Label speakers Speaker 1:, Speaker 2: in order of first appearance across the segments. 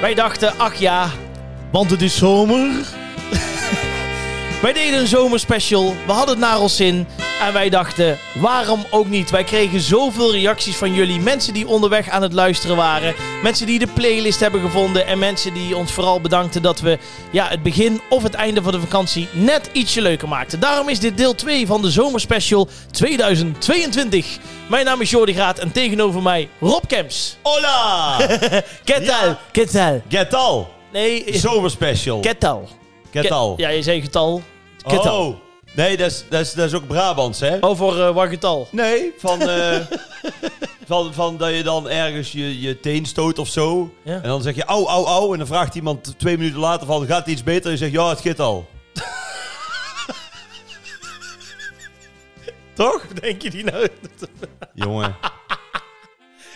Speaker 1: Wij dachten, ach ja, want het is zomer. wij deden een zomerspecial, we hadden het naar ons zin. En wij dachten, waarom ook niet? Wij kregen zoveel reacties van jullie. Mensen die onderweg aan het luisteren waren. Mensen die de playlist hebben gevonden. En mensen die ons vooral bedankten dat we ja, het begin of het einde van de vakantie net ietsje leuker maakten. Daarom is dit deel 2 van de zomerspecial 2022. Mijn naam is Jordi Graat en tegenover mij Rob Kemps.
Speaker 2: Hola!
Speaker 1: Ketal,
Speaker 2: Ja.
Speaker 1: ketal.
Speaker 2: Getal!
Speaker 1: Nee,
Speaker 2: Zomerspecial.
Speaker 1: ketal.
Speaker 2: Getal.
Speaker 1: Ja, je zei getal. Ketal.
Speaker 2: Oh. Nee, dat is, dat, is, dat is ook Brabants, hè?
Speaker 1: Over eh, wat getal?
Speaker 2: Nee, van, eh, van, van dat je dan ergens je, je teen stoot of zo.
Speaker 1: Ja.
Speaker 2: En dan zeg je au, au, au. En dan vraagt iemand twee minuten later van, gaat het iets beter? En je zegt, ja, het gaat al. Toch?
Speaker 1: Denk je die nou?
Speaker 2: Jongen.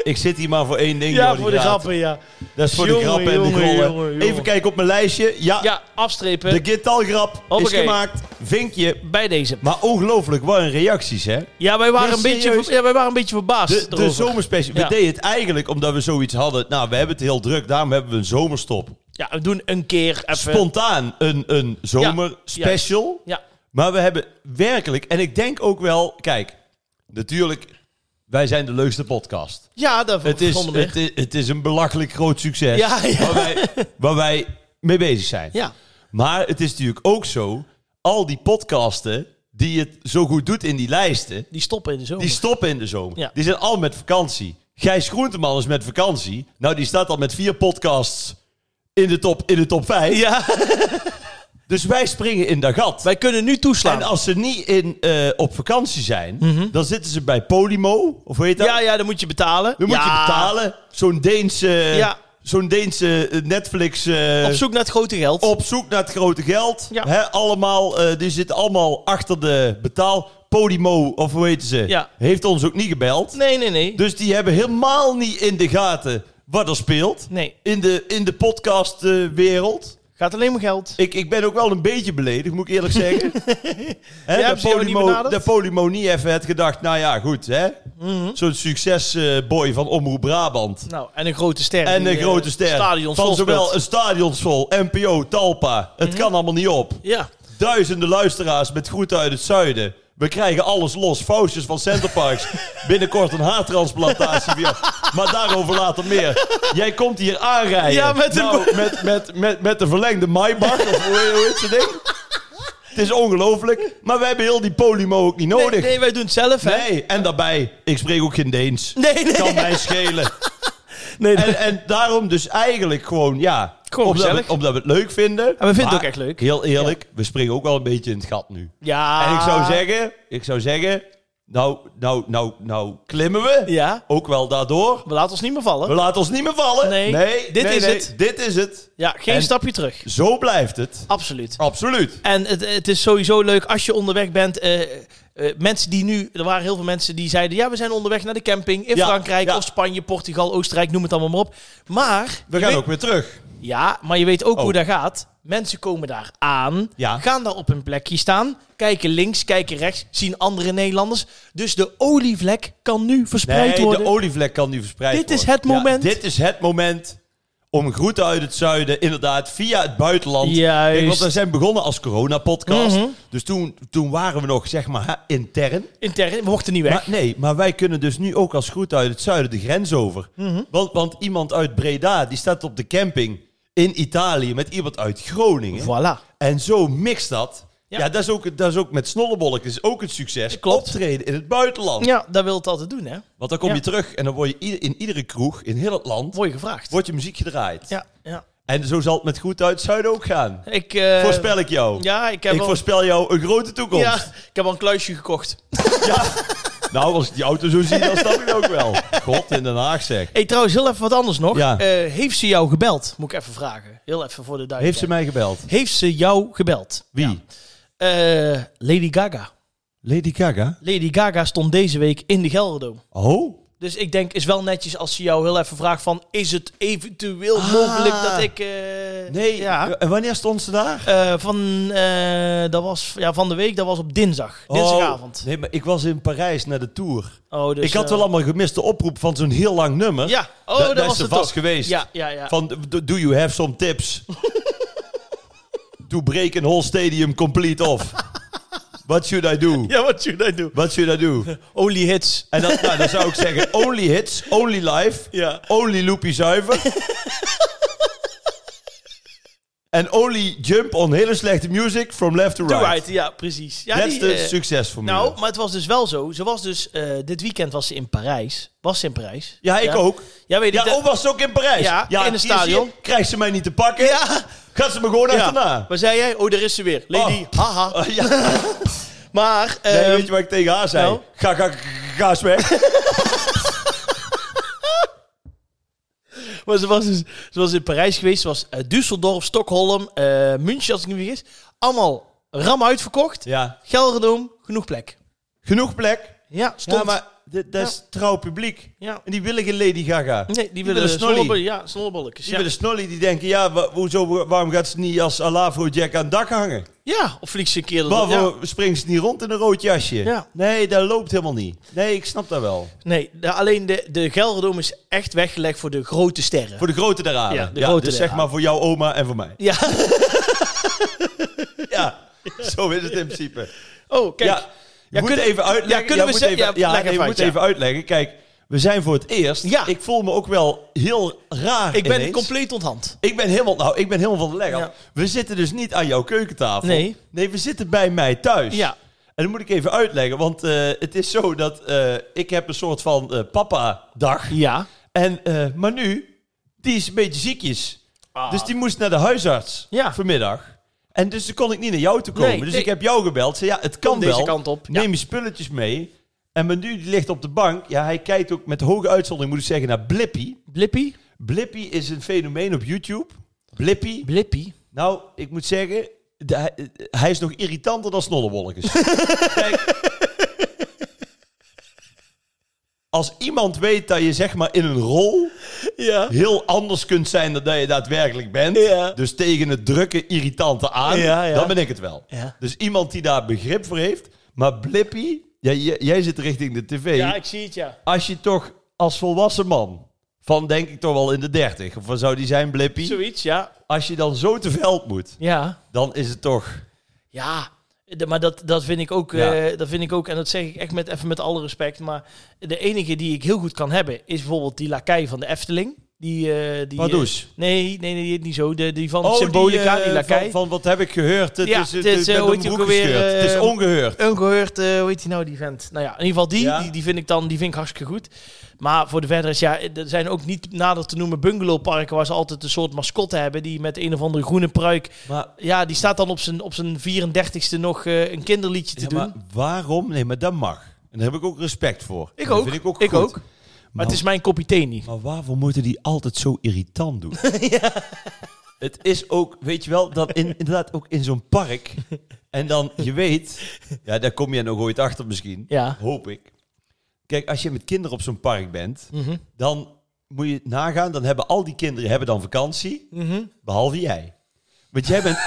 Speaker 2: Ik zit hier maar voor één ding.
Speaker 1: Ja,
Speaker 2: Jordi
Speaker 1: voor de
Speaker 2: Graat.
Speaker 1: grappen, ja.
Speaker 2: Dat is voor de
Speaker 1: Jongen,
Speaker 2: grappen en de
Speaker 1: jongen,
Speaker 2: grollen.
Speaker 1: jongen, jongen.
Speaker 2: Even kijken op mijn lijstje. Ja,
Speaker 1: Ja, afstrepen
Speaker 2: de getalgrap is
Speaker 1: Hoppakee.
Speaker 2: gemaakt. Vinkje.
Speaker 1: bij deze.
Speaker 2: Maar ongelooflijk, wat een reacties, hè?
Speaker 1: Ja, wij waren,
Speaker 2: Nee,
Speaker 1: een beetje,
Speaker 2: serieus.
Speaker 1: ver- ja, wij waren een beetje verbaasd
Speaker 2: De, de
Speaker 1: erover.
Speaker 2: zomerspecial. We
Speaker 1: Ja.
Speaker 2: deden het eigenlijk omdat we zoiets hadden. Nou, we hebben het heel druk, daarom hebben we een zomerstop.
Speaker 1: Ja, we doen een keer even...
Speaker 2: Spontaan een, een zomerspecial.
Speaker 1: ja,
Speaker 2: Maar we hebben werkelijk, en ik denk ook wel, kijk, natuurlijk, wij zijn de leukste podcast.
Speaker 1: ja dat
Speaker 2: Het is,
Speaker 1: vonden we.
Speaker 2: het is, het is een belachelijk groot succes
Speaker 1: Ja, ja.
Speaker 2: Waar, wij, waar wij mee bezig zijn.
Speaker 1: ja.
Speaker 2: Maar het is natuurlijk ook zo, al die podcasten die het zo goed doet in die lijsten,
Speaker 1: Die stoppen in de zomer.
Speaker 2: Die stoppen in de zomer.
Speaker 1: Ja.
Speaker 2: Die zijn al met vakantie. Gijs Groenteman is met vakantie. Nou, die staat al met vier podcasts in de top, in de top vijf.
Speaker 1: Ja,
Speaker 2: Dus wij springen in dat gat.
Speaker 1: wij kunnen nu
Speaker 2: En
Speaker 1: toeslaan.
Speaker 2: als ze niet in, eh, op vakantie zijn, dan zitten ze bij Polymo. Of hoe heet dat?
Speaker 1: Mhm. Ja, ja, dan moet je betalen.
Speaker 2: Dan moet je
Speaker 1: Ja,
Speaker 2: betalen. Zo'n Deense,
Speaker 1: Ja.
Speaker 2: zo'n Deense eh, Netflix... eh,
Speaker 1: Op zoek naar het grote geld.
Speaker 2: op zoek naar het grote geld.
Speaker 1: Ja.
Speaker 2: Hè, allemaal, eh, die zitten allemaal achter de betaal. Polymo, of hoe heet ze,
Speaker 1: Ja.
Speaker 2: heeft ons ook niet gebeld.
Speaker 1: Nee, nee, nee.
Speaker 2: Dus die hebben helemaal niet in de gaten wat er speelt.
Speaker 1: Nee,
Speaker 2: In de, in de podcastwereld.
Speaker 1: gaat alleen maar geld.
Speaker 2: ik, ik ben ook wel een beetje beledigd, moet ik eerlijk zeggen. hè,
Speaker 1: hebben
Speaker 2: dat,
Speaker 1: ze jou niet
Speaker 2: Polymo,
Speaker 1: benaderd? Mhm.
Speaker 2: dat Polymo niet even had gedacht, nou ja, goed. hè. Zo'n succesboy van Omroep Brabant.
Speaker 1: Nou, en een grote ster.
Speaker 2: En
Speaker 1: die,
Speaker 2: een
Speaker 1: eh,
Speaker 2: grote ster.
Speaker 1: Stadions
Speaker 2: van
Speaker 1: vol
Speaker 2: zowel
Speaker 1: speelt. Mhm.
Speaker 2: een stadionsvol, NPO, Talpa. Het kan allemaal niet op.
Speaker 1: Ja.
Speaker 2: Duizenden luisteraars met groeten uit het zuiden. We krijgen alles los. Faustus van Centerparks. Binnenkort een haartransplantatie weer. Maar daarover later meer. Jij komt hier aanrijden.
Speaker 1: Ja, met een-
Speaker 2: Nou, met, met, met, met de verlengde Maybach. Of hoe, hoe heet ze ding? Het is ongelooflijk. Maar we hebben heel die polymo ook niet
Speaker 1: Nee,
Speaker 2: nodig. Nee,
Speaker 1: nee, wij doen het zelf, hè?
Speaker 2: en daarbij, ik spreek ook geen Deens.
Speaker 1: Nee, nee.
Speaker 2: Kan mij schelen.
Speaker 1: nee, nee.
Speaker 2: En, en daarom dus eigenlijk gewoon, ja.
Speaker 1: Gewoon
Speaker 2: omdat, we,
Speaker 1: gezellig.
Speaker 2: omdat we het leuk vinden. En we
Speaker 1: vinden het ook echt leuk.
Speaker 2: Heel eerlijk, we springen ook wel een beetje in het gat nu.
Speaker 1: ja.
Speaker 2: En ik
Speaker 1: Ah.
Speaker 2: zou zeggen, ik zou zeggen, nou, nou, nou, nou klimmen we.
Speaker 1: Ja,
Speaker 2: Ook wel daardoor.
Speaker 1: we laten ons niet meer vallen.
Speaker 2: We laten ons niet meer vallen.
Speaker 1: Nee, dit is het.
Speaker 2: Dit is het.
Speaker 1: Ja, geen
Speaker 2: En-
Speaker 1: stapje terug.
Speaker 2: Zo blijft het.
Speaker 1: Absoluut.
Speaker 2: Absoluut.
Speaker 1: En het, het is sowieso leuk als je onderweg bent. eh, eh, mensen die nu, er waren heel veel mensen die zeiden: ja, we zijn onderweg naar de camping in
Speaker 2: Ja,
Speaker 1: Frankrijk
Speaker 2: ja.
Speaker 1: of Spanje, Portugal, Oostenrijk, noem het allemaal maar op. Maar
Speaker 2: We
Speaker 1: je
Speaker 2: gaan
Speaker 1: weet-
Speaker 2: ook weer terug.
Speaker 1: ja, maar je weet ook
Speaker 2: Oh.
Speaker 1: hoe dat gaat. Mensen komen daar aan,
Speaker 2: Ja.
Speaker 1: gaan daar op hun plekje staan, kijken links, kijken rechts, zien andere Nederlanders. Dus de olievlek kan nu verspreid
Speaker 2: Nee,
Speaker 1: worden.
Speaker 2: de olievlek kan nu verspreid
Speaker 1: Dit is
Speaker 2: worden.
Speaker 1: het moment.
Speaker 2: Ja, dit is het moment om groeten uit het zuiden, inderdaad, via het buitenland.
Speaker 1: Juist.
Speaker 2: Kijk, want we zijn begonnen als corona-podcast.
Speaker 1: Mhm.
Speaker 2: Dus toen, toen waren we nog, zeg maar, intern.
Speaker 1: Intern, we mochten niet weg.
Speaker 2: Maar, nee, maar wij kunnen dus nu ook als groet uit het zuiden de grens over.
Speaker 1: Mhm.
Speaker 2: want, want iemand uit Breda, die staat op de camping in Italië met iemand uit Groningen.
Speaker 1: voilà.
Speaker 2: En zo mixt dat.
Speaker 1: Ja.
Speaker 2: Ja, dat, is ook, dat is ook met snollebolletjes ook een succes.
Speaker 1: Klopt.
Speaker 2: Optreden in het buitenland.
Speaker 1: Ja, dat wil het altijd doen, hè?
Speaker 2: Want dan kom
Speaker 1: Ja.
Speaker 2: je terug en dan word je ieder- in iedere kroeg in heel het land
Speaker 1: Word je gevraagd.
Speaker 2: wordt je muziek gedraaid.
Speaker 1: Ja, ja.
Speaker 2: En zo zal het met groet uit het zuiden ook gaan.
Speaker 1: Ik, eh,
Speaker 2: voorspel ik jou.
Speaker 1: Ja, ik heb
Speaker 2: ik
Speaker 1: wel-
Speaker 2: voorspel jou een grote toekomst.
Speaker 1: Ja, ik heb al een kluisje gekocht.
Speaker 2: Nou, als ik die auto zo zie, dan snap ik het ook wel. God, in Den Haag zeg.
Speaker 1: Hey, trouwens, heel even wat anders nog.
Speaker 2: Ja.
Speaker 1: Eh, heeft ze jou gebeld? Moet ik even vragen. Heel even voor de
Speaker 2: Heeft ze
Speaker 1: duidelijkheid.
Speaker 2: mij gebeld?
Speaker 1: Heeft ze jou gebeld?
Speaker 2: Wie?
Speaker 1: Eh, Lady Gaga.
Speaker 2: Lady Gaga?
Speaker 1: Lady Gaga stond deze week in de Gelderdoom.
Speaker 2: Oh?
Speaker 1: Dus ik denk, is wel netjes als ze jou heel even vraagt van... Is het eventueel mogelijk dat ik... eh,
Speaker 2: Ah. Nee,
Speaker 1: Ja.
Speaker 2: en wanneer stond ze daar?
Speaker 1: Eh, van, eh, dat was, ja, van de week, dat was op dinsdag.
Speaker 2: Oh,
Speaker 1: Dinsdagavond.
Speaker 2: nee, maar ik was in Parijs naar de Tour.
Speaker 1: Oh, dus,
Speaker 2: ik had
Speaker 1: eh,
Speaker 2: wel allemaal gemist de oproep van zo'n heel lang nummer.
Speaker 1: Ja, oh,
Speaker 2: Da-
Speaker 1: dat,
Speaker 2: daar
Speaker 1: was
Speaker 2: is ze
Speaker 1: het
Speaker 2: vast
Speaker 1: toch.
Speaker 2: geweest.
Speaker 1: Ja, ja, ja.
Speaker 2: Van, do, do you have some tips? to break a whole stadium complete off. What should I do?
Speaker 1: ja, wat should I do?
Speaker 2: What should I do?
Speaker 1: Only hits.
Speaker 2: En dan, nou, dan zou ik zeggen, only hits, only live,
Speaker 1: Ja.
Speaker 2: only loopy zuiver. En only jump on hele slechte music from left to right.
Speaker 1: To right, ja, precies. Ja,
Speaker 2: Dat is
Speaker 1: die,
Speaker 2: de
Speaker 1: eh,
Speaker 2: succesformule.
Speaker 1: Nou, maar het was dus wel zo. Ze was dus, eh, dit weekend was ze in Parijs. Was ze in Parijs?
Speaker 2: ja, ik ook.
Speaker 1: Ja, weet ik.
Speaker 2: Ja,
Speaker 1: dat-
Speaker 2: oh, was ze ook in Parijs?
Speaker 1: Ja, in het
Speaker 2: zie je,
Speaker 1: stadion.
Speaker 2: zie je, Krijgt ze mij niet te pakken?
Speaker 1: Ja.
Speaker 2: Gaat ze me gewoon
Speaker 1: Ja.
Speaker 2: achterna?
Speaker 1: Waar zei jij? Oh, daar is ze weer. Lady,
Speaker 2: Oh.
Speaker 1: haha.
Speaker 2: Oh, ja.
Speaker 1: Maar,
Speaker 2: Nee,
Speaker 1: ehm,
Speaker 2: weet je wat ik tegen haar zei?
Speaker 1: nou?
Speaker 2: Ga, ga, ga eens weg.
Speaker 1: maar ze, was dus, ze was in Parijs geweest. Ze was eh, Düsseldorf, Stockholm, eh, München, als ik niet vergis. Allemaal ram uitverkocht.
Speaker 2: ja.
Speaker 1: Gelredome, genoeg plek.
Speaker 2: Genoeg plek.
Speaker 1: Ja, stond.
Speaker 2: Ja, maar dit- dat is trouw publiek.
Speaker 1: Ja.
Speaker 2: En die willen geen Lady Gaga.
Speaker 1: Nee, die
Speaker 2: willen
Speaker 1: willen
Speaker 2: snolly.
Speaker 1: snollebollen. Ja, snollebolletjes.
Speaker 2: Die
Speaker 1: Ja.
Speaker 2: willen snolly, die denken, ja, wa- hoezo, wa- waarom gaat ze niet als Alafro Jack aan het dak hangen?
Speaker 1: ja, of vliegt ze een keer... door- ja.
Speaker 2: Waarvoor springt ze niet rond in een rood jasje?
Speaker 1: Ja.
Speaker 2: Nee, dat loopt helemaal niet. Nee, ik snap dat wel.
Speaker 1: Nee, de- alleen de, de Gelredome is echt weggelegd voor de grote sterren.
Speaker 2: Voor de grote der aarde.
Speaker 1: Ja, de grote
Speaker 2: dus
Speaker 1: der
Speaker 2: zeg maar
Speaker 1: aarde.
Speaker 2: voor jouw oma en voor mij.
Speaker 1: Ja.
Speaker 2: Ja, zo is het in principe.
Speaker 1: Oh, kijk.
Speaker 2: ja, je
Speaker 1: Ja,
Speaker 2: moet
Speaker 1: kunnen-
Speaker 2: even uitleggen.
Speaker 1: ja, kunnen we
Speaker 2: moet
Speaker 1: ze-
Speaker 2: even,
Speaker 1: ja, leg even
Speaker 2: nee, we
Speaker 1: uit,
Speaker 2: moeten
Speaker 1: ja.
Speaker 2: even uitleggen. Kijk, we zijn voor het eerst.
Speaker 1: Ja.
Speaker 2: Ik voel me ook wel heel raar
Speaker 1: Ik ben
Speaker 2: ineens.
Speaker 1: compleet onthand.
Speaker 2: Ik ben helemaal, nou, ik ben helemaal van de leg af.
Speaker 1: Ja.
Speaker 2: We zitten dus niet aan jouw keukentafel.
Speaker 1: Nee.
Speaker 2: Nee, we zitten bij mij thuis.
Speaker 1: Ja.
Speaker 2: En dat moet ik even uitleggen, want eh, het is zo dat eh, ik heb een soort van eh, papa-dag.
Speaker 1: Ja.
Speaker 2: En eh Manu, die is een beetje ziekjes.
Speaker 1: Ah.
Speaker 2: Dus die moest naar de huisarts
Speaker 1: Ja.
Speaker 2: vanmiddag. En dus toen kon ik niet naar jou toe komen.
Speaker 1: Nee,
Speaker 2: dus
Speaker 1: nee.
Speaker 2: ik heb jou gebeld. Zei, ja, het kan
Speaker 1: Kom deze
Speaker 2: wel.
Speaker 1: kant op.
Speaker 2: Neem je spulletjes mee. En Manu die ligt op de bank. Ja, hij kijkt ook met hoge uitzondering, moet ik zeggen, naar Blippy.
Speaker 1: Blippy?
Speaker 2: Blippy is een fenomeen op YouTube. Blippy.
Speaker 1: Blippy?
Speaker 2: Nou, ik moet zeggen, de- hij- hij is nog irritanter dan snollewolkens. Kijk. Als iemand weet dat je zeg maar in een rol
Speaker 1: Ja.
Speaker 2: heel anders kunt zijn dan dat je daadwerkelijk bent.
Speaker 1: Ja.
Speaker 2: Dus tegen het drukke, irritante aan,
Speaker 1: Ja, ja.
Speaker 2: dan ben ik het wel.
Speaker 1: Ja.
Speaker 2: Dus iemand die daar begrip voor heeft. Maar Blippy, jij, jij- jij zit richting de tv.
Speaker 1: Ja, ik zie het, ja.
Speaker 2: Als je toch als volwassen man, van denk ik toch wel in de dertig, of wat zou die zijn Blippy?
Speaker 1: Zoiets, ja.
Speaker 2: Als je dan zo te veld moet,
Speaker 1: Ja.
Speaker 2: dan is het toch...
Speaker 1: Ja. De- maar dat, dat, vind ik ook,
Speaker 2: Ja.
Speaker 1: eh, dat vind ik ook, en dat zeg ik echt met, even met alle respect, maar de enige die ik heel goed kan hebben is bijvoorbeeld die lakai van de Efteling. Die, eh die,
Speaker 2: Pardoes.
Speaker 1: eh, nee, nee, nee, die heet niet zo. De, die van
Speaker 2: Oh,
Speaker 1: Symbolica,
Speaker 2: eh,
Speaker 1: die, lakai.
Speaker 2: Van, van wat heb ik gehoord? Het
Speaker 1: Ja,
Speaker 2: is,
Speaker 1: het
Speaker 2: het,
Speaker 1: is,
Speaker 2: ik ben
Speaker 1: eh,
Speaker 2: door
Speaker 1: hoe heet
Speaker 2: mijn
Speaker 1: die ook
Speaker 2: broek
Speaker 1: alweer,
Speaker 2: gescheurd. het is
Speaker 1: eh,
Speaker 2: ongehoord.
Speaker 1: Ongehoord, eh hoe heet die nou, die vent? Nou ja, in ieder geval die,
Speaker 2: Ja.
Speaker 1: die, die vind ik dan die vind ik hartstikke goed. Maar voor de verder is, ja, er zijn ook niet nader te noemen bungalowparken waar ze altijd een soort mascotte hebben die met een of andere groene pruik.
Speaker 2: Maar,
Speaker 1: Ja, die staat dan op zijn, op zijn 34ste nog eh, een kinderliedje te
Speaker 2: ja,
Speaker 1: doen.
Speaker 2: maar waarom? Nee, maar dat mag. En daar heb ik ook respect voor. En
Speaker 1: ik
Speaker 2: dat
Speaker 1: ook.
Speaker 2: vind ik ook. goed.
Speaker 1: ook. Maar, het is mijn kopje thee niet.
Speaker 2: Maar waarvoor moeten die altijd zo irritant doen? Het is ook, weet je wel, dat in, inderdaad ook in zo'n park. En dan, je weet, ja, daar kom je nog ooit achter misschien.
Speaker 1: Ja.
Speaker 2: Hoop ik. Kijk, als je met kinderen op zo'n park bent, dan moet je nagaan, dan hebben al die kinderen hebben dan vakantie, behalve jij. Want jij bent...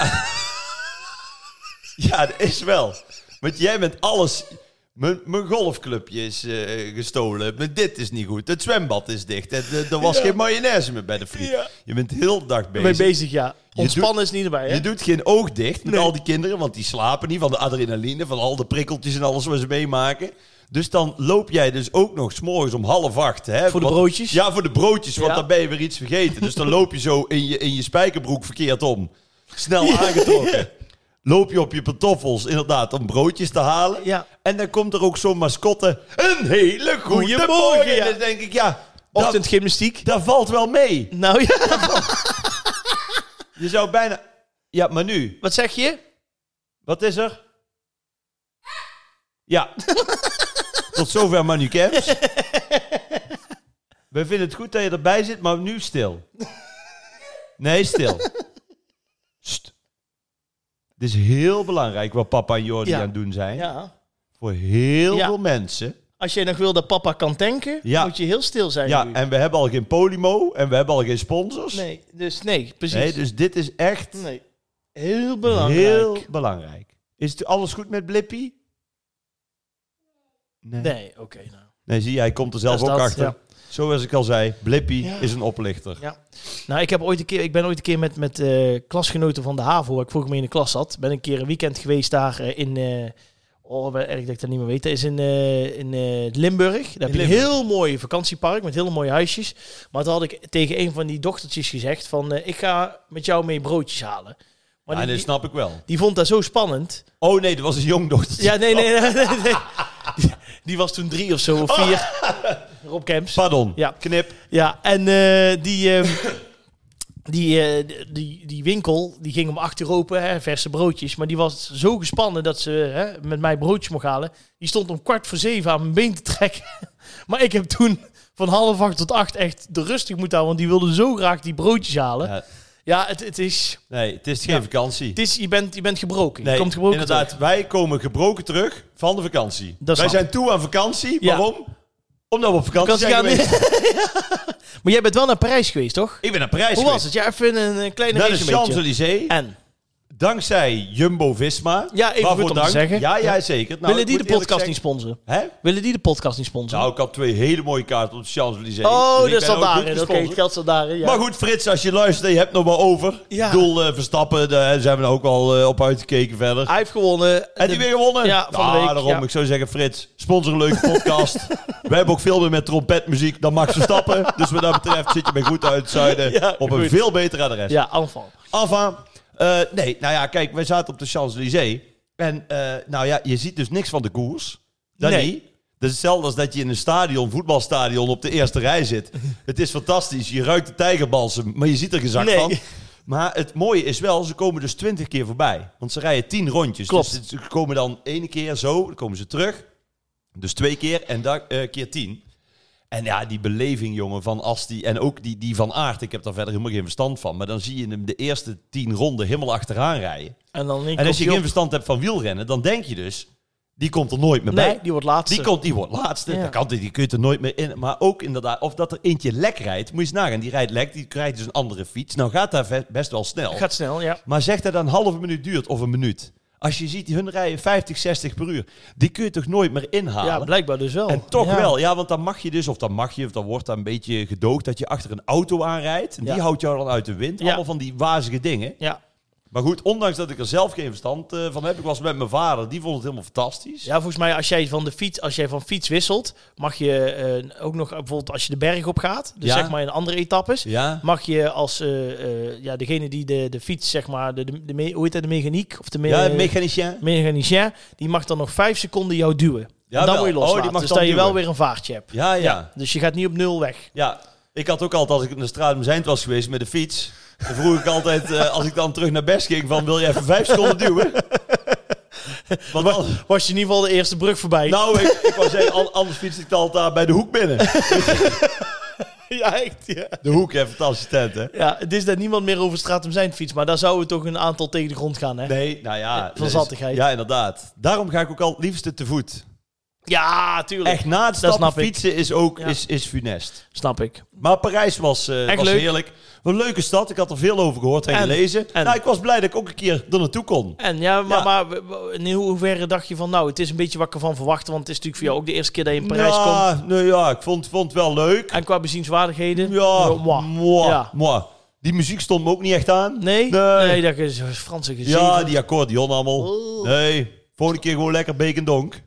Speaker 2: ja, dat is wel. Want jij bent alles... Mijn, mijn golfclubje is eh, gestolen. Mijn dit is niet goed. Het zwembad is dicht. Het, eh, er was geen mayonaise meer bij de friet.
Speaker 1: Ja.
Speaker 2: Je bent heel de dag
Speaker 1: Mee
Speaker 2: bezig.
Speaker 1: bezig, ja. Ontspannen is niet erbij, hè?
Speaker 2: Je doet geen oog dicht met al die kinderen, want die slapen niet van de adrenaline, van al de prikkeltjes en alles wat ze meemaken. Dus dan loop jij dus ook nog s'morgens om half acht. Hè,
Speaker 1: Voor de
Speaker 2: want-
Speaker 1: broodjes?
Speaker 2: Ja, voor de broodjes, want
Speaker 1: Ja.
Speaker 2: dan ben je weer iets vergeten. Dus dan loop je zo in je, in je spijkerbroek verkeerd om. Snel aangetrokken. Loop je op je pantoffels, inderdaad, om broodjes te halen.
Speaker 1: Ja.
Speaker 2: En dan komt er ook zo'n mascotte. Een hele goede morgen.
Speaker 1: ja.
Speaker 2: En dan denk ik, ja, dat,
Speaker 1: Ochtendgymnastiek.
Speaker 2: dat valt wel mee.
Speaker 1: Nou ja,
Speaker 2: Je zou bijna... Ja, maar nu,
Speaker 1: wat zeg je?
Speaker 2: Wat is er? Ja. Tot zover Manu Kemps. We vinden het goed dat je erbij zit, maar nu stil. Nee, stil. St. Het is heel belangrijk wat papa en Jordi
Speaker 1: Ja.
Speaker 2: aan het doen zijn.
Speaker 1: Ja.
Speaker 2: Voor heel
Speaker 1: Ja.
Speaker 2: veel mensen
Speaker 1: Als jij nog wil dat papa kan tanken,
Speaker 2: Ja.
Speaker 1: moet je heel stil zijn
Speaker 2: Ja,
Speaker 1: nu.
Speaker 2: en we hebben al geen Podimo en we hebben al geen sponsors.
Speaker 1: Nee, dus nee, precies.
Speaker 2: Nee, dus dit is echt
Speaker 1: Nee. Heel belangrijk.
Speaker 2: heel belangrijk. Is het alles goed met Blippy? Nee. nee.
Speaker 1: Nee, oké. nou.
Speaker 2: zie je, hij komt er zelf
Speaker 1: Dat is
Speaker 2: ook
Speaker 1: Dus dat,
Speaker 2: achter.
Speaker 1: ja.
Speaker 2: Zoals ik al zei, Blippy
Speaker 1: Ja.
Speaker 2: is een oplichter.
Speaker 1: Ja. Nou, ik, heb ooit een keer, ik ben ooit een keer met, met eh, klasgenoten van de HAVO, waar ik vroeger mee in de klas zat, ben een keer een weekend geweest daar eh, in... eh, oh, wat erg dat ik dat niet meer weet. Dat is in, eh, in eh, Limburg. Daar heb je een
Speaker 2: Limburg.
Speaker 1: heel mooi vakantiepark met hele mooie huisjes. Maar toen had ik tegen een van die dochtertjes gezegd van... eh, ik ga met jou mee broodjes halen. Maar die,
Speaker 2: en dat
Speaker 1: die,
Speaker 2: snap ik wel.
Speaker 1: die vond dat zo spannend.
Speaker 2: Oh nee, dat was een jongdochter.
Speaker 1: Ja, nee, nee, nee. nee, nee. Die, die was toen drie of zo, of vier. Rob Kemps.
Speaker 2: Pardon.
Speaker 1: Ja.
Speaker 2: Knip.
Speaker 1: Ja, en eh, die, ehm, die, eh, die, die winkel die ging om acht uur open, hè, verse broodjes. Maar die was zo gespannen dat ze hè, met mij broodjes mocht halen. Die stond om kwart voor zeven aan mijn been te trekken. maar ik heb toen van half acht tot acht echt de rustig moeten houden. Want die wilde zo graag die broodjes halen. Ja,
Speaker 2: Ja.
Speaker 1: het, het is...
Speaker 2: Nee, het is geen
Speaker 1: Ja.
Speaker 2: vakantie.
Speaker 1: Het is je, bent, je bent gebroken.
Speaker 2: Nee,
Speaker 1: je komt gebroken
Speaker 2: inderdaad.
Speaker 1: terug.
Speaker 2: Wij komen gebroken terug van de vakantie.
Speaker 1: Dat
Speaker 2: wij
Speaker 1: snap
Speaker 2: zijn toe aan vakantie.
Speaker 1: Ja.
Speaker 2: Waarom? Omdat we op vakantie,
Speaker 1: Vakantie
Speaker 2: zijn
Speaker 1: gaan-
Speaker 2: geweest.
Speaker 1: Maar jij bent wel naar Parijs geweest, toch?
Speaker 2: Ik ben naar Parijs
Speaker 1: Hoe was
Speaker 2: geweest.
Speaker 1: het? Ja, even een, eh, kleine
Speaker 2: Naar de
Speaker 1: resume. beetje.
Speaker 2: Champs-Élysées.
Speaker 1: En?
Speaker 2: Dankzij Jumbo-Visma.
Speaker 1: Ja, even
Speaker 2: Waarvoor
Speaker 1: goed om te
Speaker 2: dank.
Speaker 1: zeggen.
Speaker 2: Ja, ja, zeker. Nou,
Speaker 1: Willen die
Speaker 2: ik
Speaker 1: de
Speaker 2: moet
Speaker 1: podcast
Speaker 2: eerlijk
Speaker 1: niet sponsoren?
Speaker 2: zeggen- Hè?
Speaker 1: Willen die de podcast niet sponsoren?
Speaker 2: Nou, ik had twee hele mooie kaarten op de Champs-Élysées.
Speaker 1: Oh,
Speaker 2: Dus ik
Speaker 1: dat
Speaker 2: ben
Speaker 1: zat
Speaker 2: ook goed
Speaker 1: daarin. Oké,
Speaker 2: gesponsord.
Speaker 1: het geld zat daarin. Ja.
Speaker 2: Maar goed, Frits, als je luistert en je hebt nog wel over.
Speaker 1: Ja.
Speaker 2: Ik bedoel, eh, Verstappen, daar zijn we nou ook wel eh, op uitgekeken verder.
Speaker 1: Hij heeft gewonnen.
Speaker 2: En die weer gewonnen.
Speaker 1: Ja, van Ah, de
Speaker 2: Ah,
Speaker 1: week,
Speaker 2: daarom.
Speaker 1: ja.
Speaker 2: Ik zou zeggen, Frits, sponsor een leuke podcast. we hebben ook veel meer met trompetmuziek dan Max Verstappen. dus wat dat betreft zit je bij goed uit het zuiden
Speaker 1: Ja,
Speaker 2: op
Speaker 1: goed.
Speaker 2: een veel beter adres.
Speaker 1: Ja, aanval.
Speaker 2: Alfa, eh, nee, nou ja, kijk, wij zaten op de Champs-Élysées. En eh, nou ja, je ziet dus niks van de koers. Dat
Speaker 1: Nee.
Speaker 2: niet. Dat is hetzelfde als dat je in een stadion, voetbalstadion, op de eerste rij zit. Het is fantastisch. Je ruikt de tijgerbalsem, maar je ziet er geen zak
Speaker 1: Nee.
Speaker 2: van. Maar het mooie is wel, ze komen dus twintig keer voorbij. Want ze rijden tien rondjes.
Speaker 1: Klopt.
Speaker 2: Dus ze komen dan ene keer zo, dan komen ze terug. Dus twee keer en dan eh, keer tien. En ja, die beleving, jongen, van Asti en ook die, die van Aert. Ik heb daar verder helemaal geen verstand van. Maar dan zie je hem de eerste tien ronden helemaal achteraan rijden.
Speaker 1: En dan
Speaker 2: En als je geen verstand hebt van wielrennen, dan denk je dus... Die komt er nooit meer bij.
Speaker 1: Nee, die wordt laatste.
Speaker 2: Die, komt, die wordt laatste.
Speaker 1: Ja.
Speaker 2: Dat kan, die kun je er nooit meer in. Maar ook inderdaad, of dat er eentje lek rijdt. Moet je eens nagaan. Die rijdt lek, die krijgt dus een andere fiets. Nou gaat daar ve- best wel snel.
Speaker 1: Gaat snel, ja.
Speaker 2: Maar zeg dat dat een halve minuut duurt of een minuut. Als je ziet, hun rijden 50, 60 per uur. Die kun je toch nooit meer inhalen?
Speaker 1: Ja, blijkbaar dus wel.
Speaker 2: En toch
Speaker 1: Ja.
Speaker 2: wel, ja, want dan mag je dus, of dan mag je, of dan wordt daar een beetje gedoogd dat je achter een auto aanrijdt. En
Speaker 1: Ja.
Speaker 2: die houdt jou dan uit de wind.
Speaker 1: Ja.
Speaker 2: Allemaal van die wazige dingen.
Speaker 1: Ja.
Speaker 2: Maar goed, ondanks dat ik er zelf geen verstand eh, van heb, ik was met mijn vader, die vond het helemaal fantastisch.
Speaker 1: ja, volgens mij als jij van, de fiets, als jij van fiets wisselt, mag je eh, ook nog, eh, bijvoorbeeld als je de berg op gaat, dus
Speaker 2: Ja.
Speaker 1: zeg maar in andere etappes,
Speaker 2: Ja.
Speaker 1: mag je als eh, eh, ja, degene die de, de fiets, zeg maar, de, de, de me- hoe heet dat, de mechaniek? Of de me-
Speaker 2: Ja, mechanicien.
Speaker 1: mechanicien, die mag dan nog vijf seconden jou duwen. en dan
Speaker 2: Jawel.
Speaker 1: moet je
Speaker 2: Oh, die
Speaker 1: loslaten,
Speaker 2: mag
Speaker 1: dus
Speaker 2: dan
Speaker 1: dat je wel
Speaker 2: duwen.
Speaker 1: weer een vaartje hebt.
Speaker 2: Ja, ja, ja.
Speaker 1: Dus je gaat niet op nul weg.
Speaker 2: Ik had ook altijd, als ik in de straat om Zijnd was geweest met de fiets, dan vroeg ik altijd, eh, als ik dan terug naar Best ging, van wil je even vijf seconden duwen? Want dan-
Speaker 1: Was je in ieder geval de eerste brug voorbij?
Speaker 2: nou, ik, ik wou zeggen, an- anders fiets ik altijd daar bij de hoek binnen.
Speaker 1: ja, echt, ja.
Speaker 2: De hoek, hè, fantastische tent, hè?
Speaker 1: Ja, het is dat niemand meer over straat om zijn fiets, maar daar zouden toch een aantal tegen de grond gaan, hè?
Speaker 2: Nee, nou ja. dat is-
Speaker 1: zattigheid.
Speaker 2: Ja, inderdaad. Daarom ga ik ook al het liefste te voet.
Speaker 1: Ja, tuurlijk.
Speaker 2: Echt na het
Speaker 1: Dat
Speaker 2: stappen
Speaker 1: snap ik.
Speaker 2: fietsen is ook
Speaker 1: Ja.
Speaker 2: is, is funest.
Speaker 1: Snap ik.
Speaker 2: Maar Parijs was, eh,
Speaker 1: Echt
Speaker 2: was
Speaker 1: leuk.
Speaker 2: heerlijk. Wat een leuke stad. Ik had er veel over gehoord en,
Speaker 1: En-
Speaker 2: gelezen.
Speaker 1: en-
Speaker 2: nou, ik was blij dat ik ook een keer er naartoe kon.
Speaker 1: En ja, maar,
Speaker 2: Ja.
Speaker 1: maar w- w- in ho- hoeverre dacht je van, nou, het is een beetje wat ik ervan verwachtte, want het is natuurlijk voor jou ook de eerste keer dat je in
Speaker 2: Nou.
Speaker 1: Parijs komt.
Speaker 2: ja, nee, ja, ik vond, vond het wel leuk.
Speaker 1: En qua bezienswaardigheden?
Speaker 2: Ja,
Speaker 1: mwah.
Speaker 2: moi,
Speaker 1: Ja.
Speaker 2: moi. Die muziek stond me ook niet echt aan.
Speaker 1: Nee?
Speaker 2: Nee.
Speaker 1: Nee, dat is Franse gezien.
Speaker 2: Ja, die accordeon allemaal.
Speaker 1: Oh.
Speaker 2: Nee, volgende keer gewoon lekker bekendonk.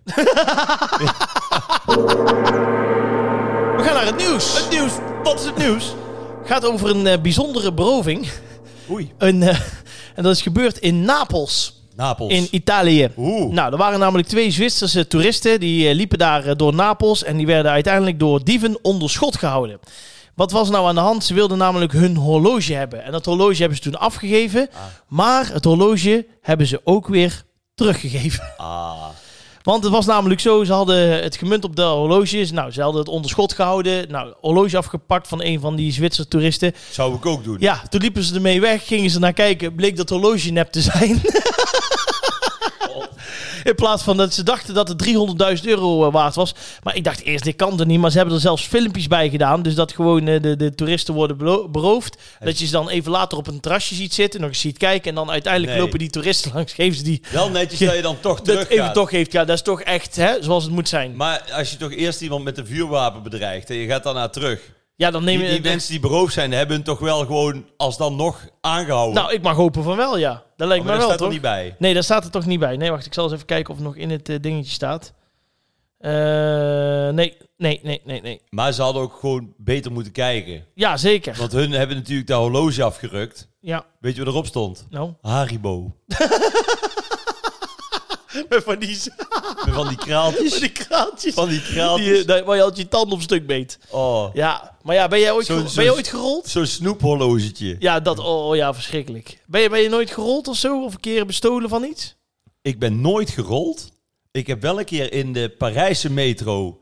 Speaker 1: We gaan naar het nieuws. Het nieuws.
Speaker 2: Wat is het nieuws?
Speaker 1: gaat over een eh, bijzondere beroving.
Speaker 2: Oei,
Speaker 1: Een, eh, en dat is gebeurd in Napels.
Speaker 2: Napels.
Speaker 1: In Italië.
Speaker 2: Oeh.
Speaker 1: Nou, er waren namelijk twee Zwitserse toeristen. Die eh, liepen daar eh, door Napels. En die werden uiteindelijk door dieven onder schot gehouden. Wat was nou aan de hand? Ze wilden namelijk hun horloge hebben. En dat horloge hebben ze toen afgegeven.
Speaker 2: Ah.
Speaker 1: Maar het horloge hebben ze ook weer teruggegeven.
Speaker 2: Ah,
Speaker 1: Want het was namelijk zo, ze hadden het gemunt op de horloges. Nou, ze hadden het onder schot gehouden. Nou, horloge afgepakt van een van die Zwitserse toeristen.
Speaker 2: zou ik ook doen.
Speaker 1: Ja, toen liepen ze ermee weg, gingen ze naar kijken. Bleek dat horloge nep te zijn. In plaats van dat ze dachten dat het 300.000 euro eh, waard was. Maar ik dacht eerst, dit kan er niet. Maar ze hebben er zelfs filmpjes bij gedaan. Dus dat gewoon eh, de, de toeristen worden belo- beroofd. Dat je ze dan even later op een terrasje ziet zitten. Nog eens ziet kijken. En dan uiteindelijk
Speaker 2: Nee.
Speaker 1: lopen die toeristen langs. Geven ze die...
Speaker 2: Wel netjes dat je dan toch
Speaker 1: Dat
Speaker 2: terug
Speaker 1: even toch heeft. Ja, dat is toch echt hè, zoals het moet zijn.
Speaker 2: Maar als je toch eerst iemand met een vuurwapen bedreigt en je gaat daarna terug.
Speaker 1: Ja, dan
Speaker 2: Die,
Speaker 1: neem je...
Speaker 2: die mensen die beroofd zijn, hebben hun toch wel gewoon als dan nog aangehouden.
Speaker 1: Nou, ik mag hopen van wel, ja. Dat lijkt
Speaker 2: Oh,
Speaker 1: me
Speaker 2: maar daar
Speaker 1: wel,
Speaker 2: staat er
Speaker 1: toch?
Speaker 2: niet bij.
Speaker 1: Nee, daar staat er toch niet bij. Nee, wacht, ik zal eens even kijken of het nog in het eh, dingetje staat. Eh, nee, nee, nee, nee, nee.
Speaker 2: Maar ze hadden ook gewoon beter moeten kijken.
Speaker 1: Ja, zeker.
Speaker 2: Want hun hebben natuurlijk de horloge afgerukt.
Speaker 1: Ja,
Speaker 2: Weet je wat erop stond?
Speaker 1: nou.
Speaker 2: Haribo.
Speaker 1: Van die,
Speaker 2: Met van die kraaltjes.
Speaker 1: die kraaltjes.
Speaker 2: Van die
Speaker 1: die, eh,
Speaker 2: kraaltjes.
Speaker 1: daar- waar je altijd je tanden op stuk beet.
Speaker 2: Oh.
Speaker 1: Ja, maar ja, ben jij ooit,
Speaker 2: Zo'n-
Speaker 1: gerold-
Speaker 2: zo'n-
Speaker 1: ben je ooit gerold?
Speaker 2: Zo'n snoephorlogetje.
Speaker 1: Ja, dat, oh ja, verschrikkelijk. Ben je, ben je nooit gerold of zo? Of een keer bestolen van iets?
Speaker 2: Ik ben nooit gerold. Ik heb wel een keer in de Parijse metro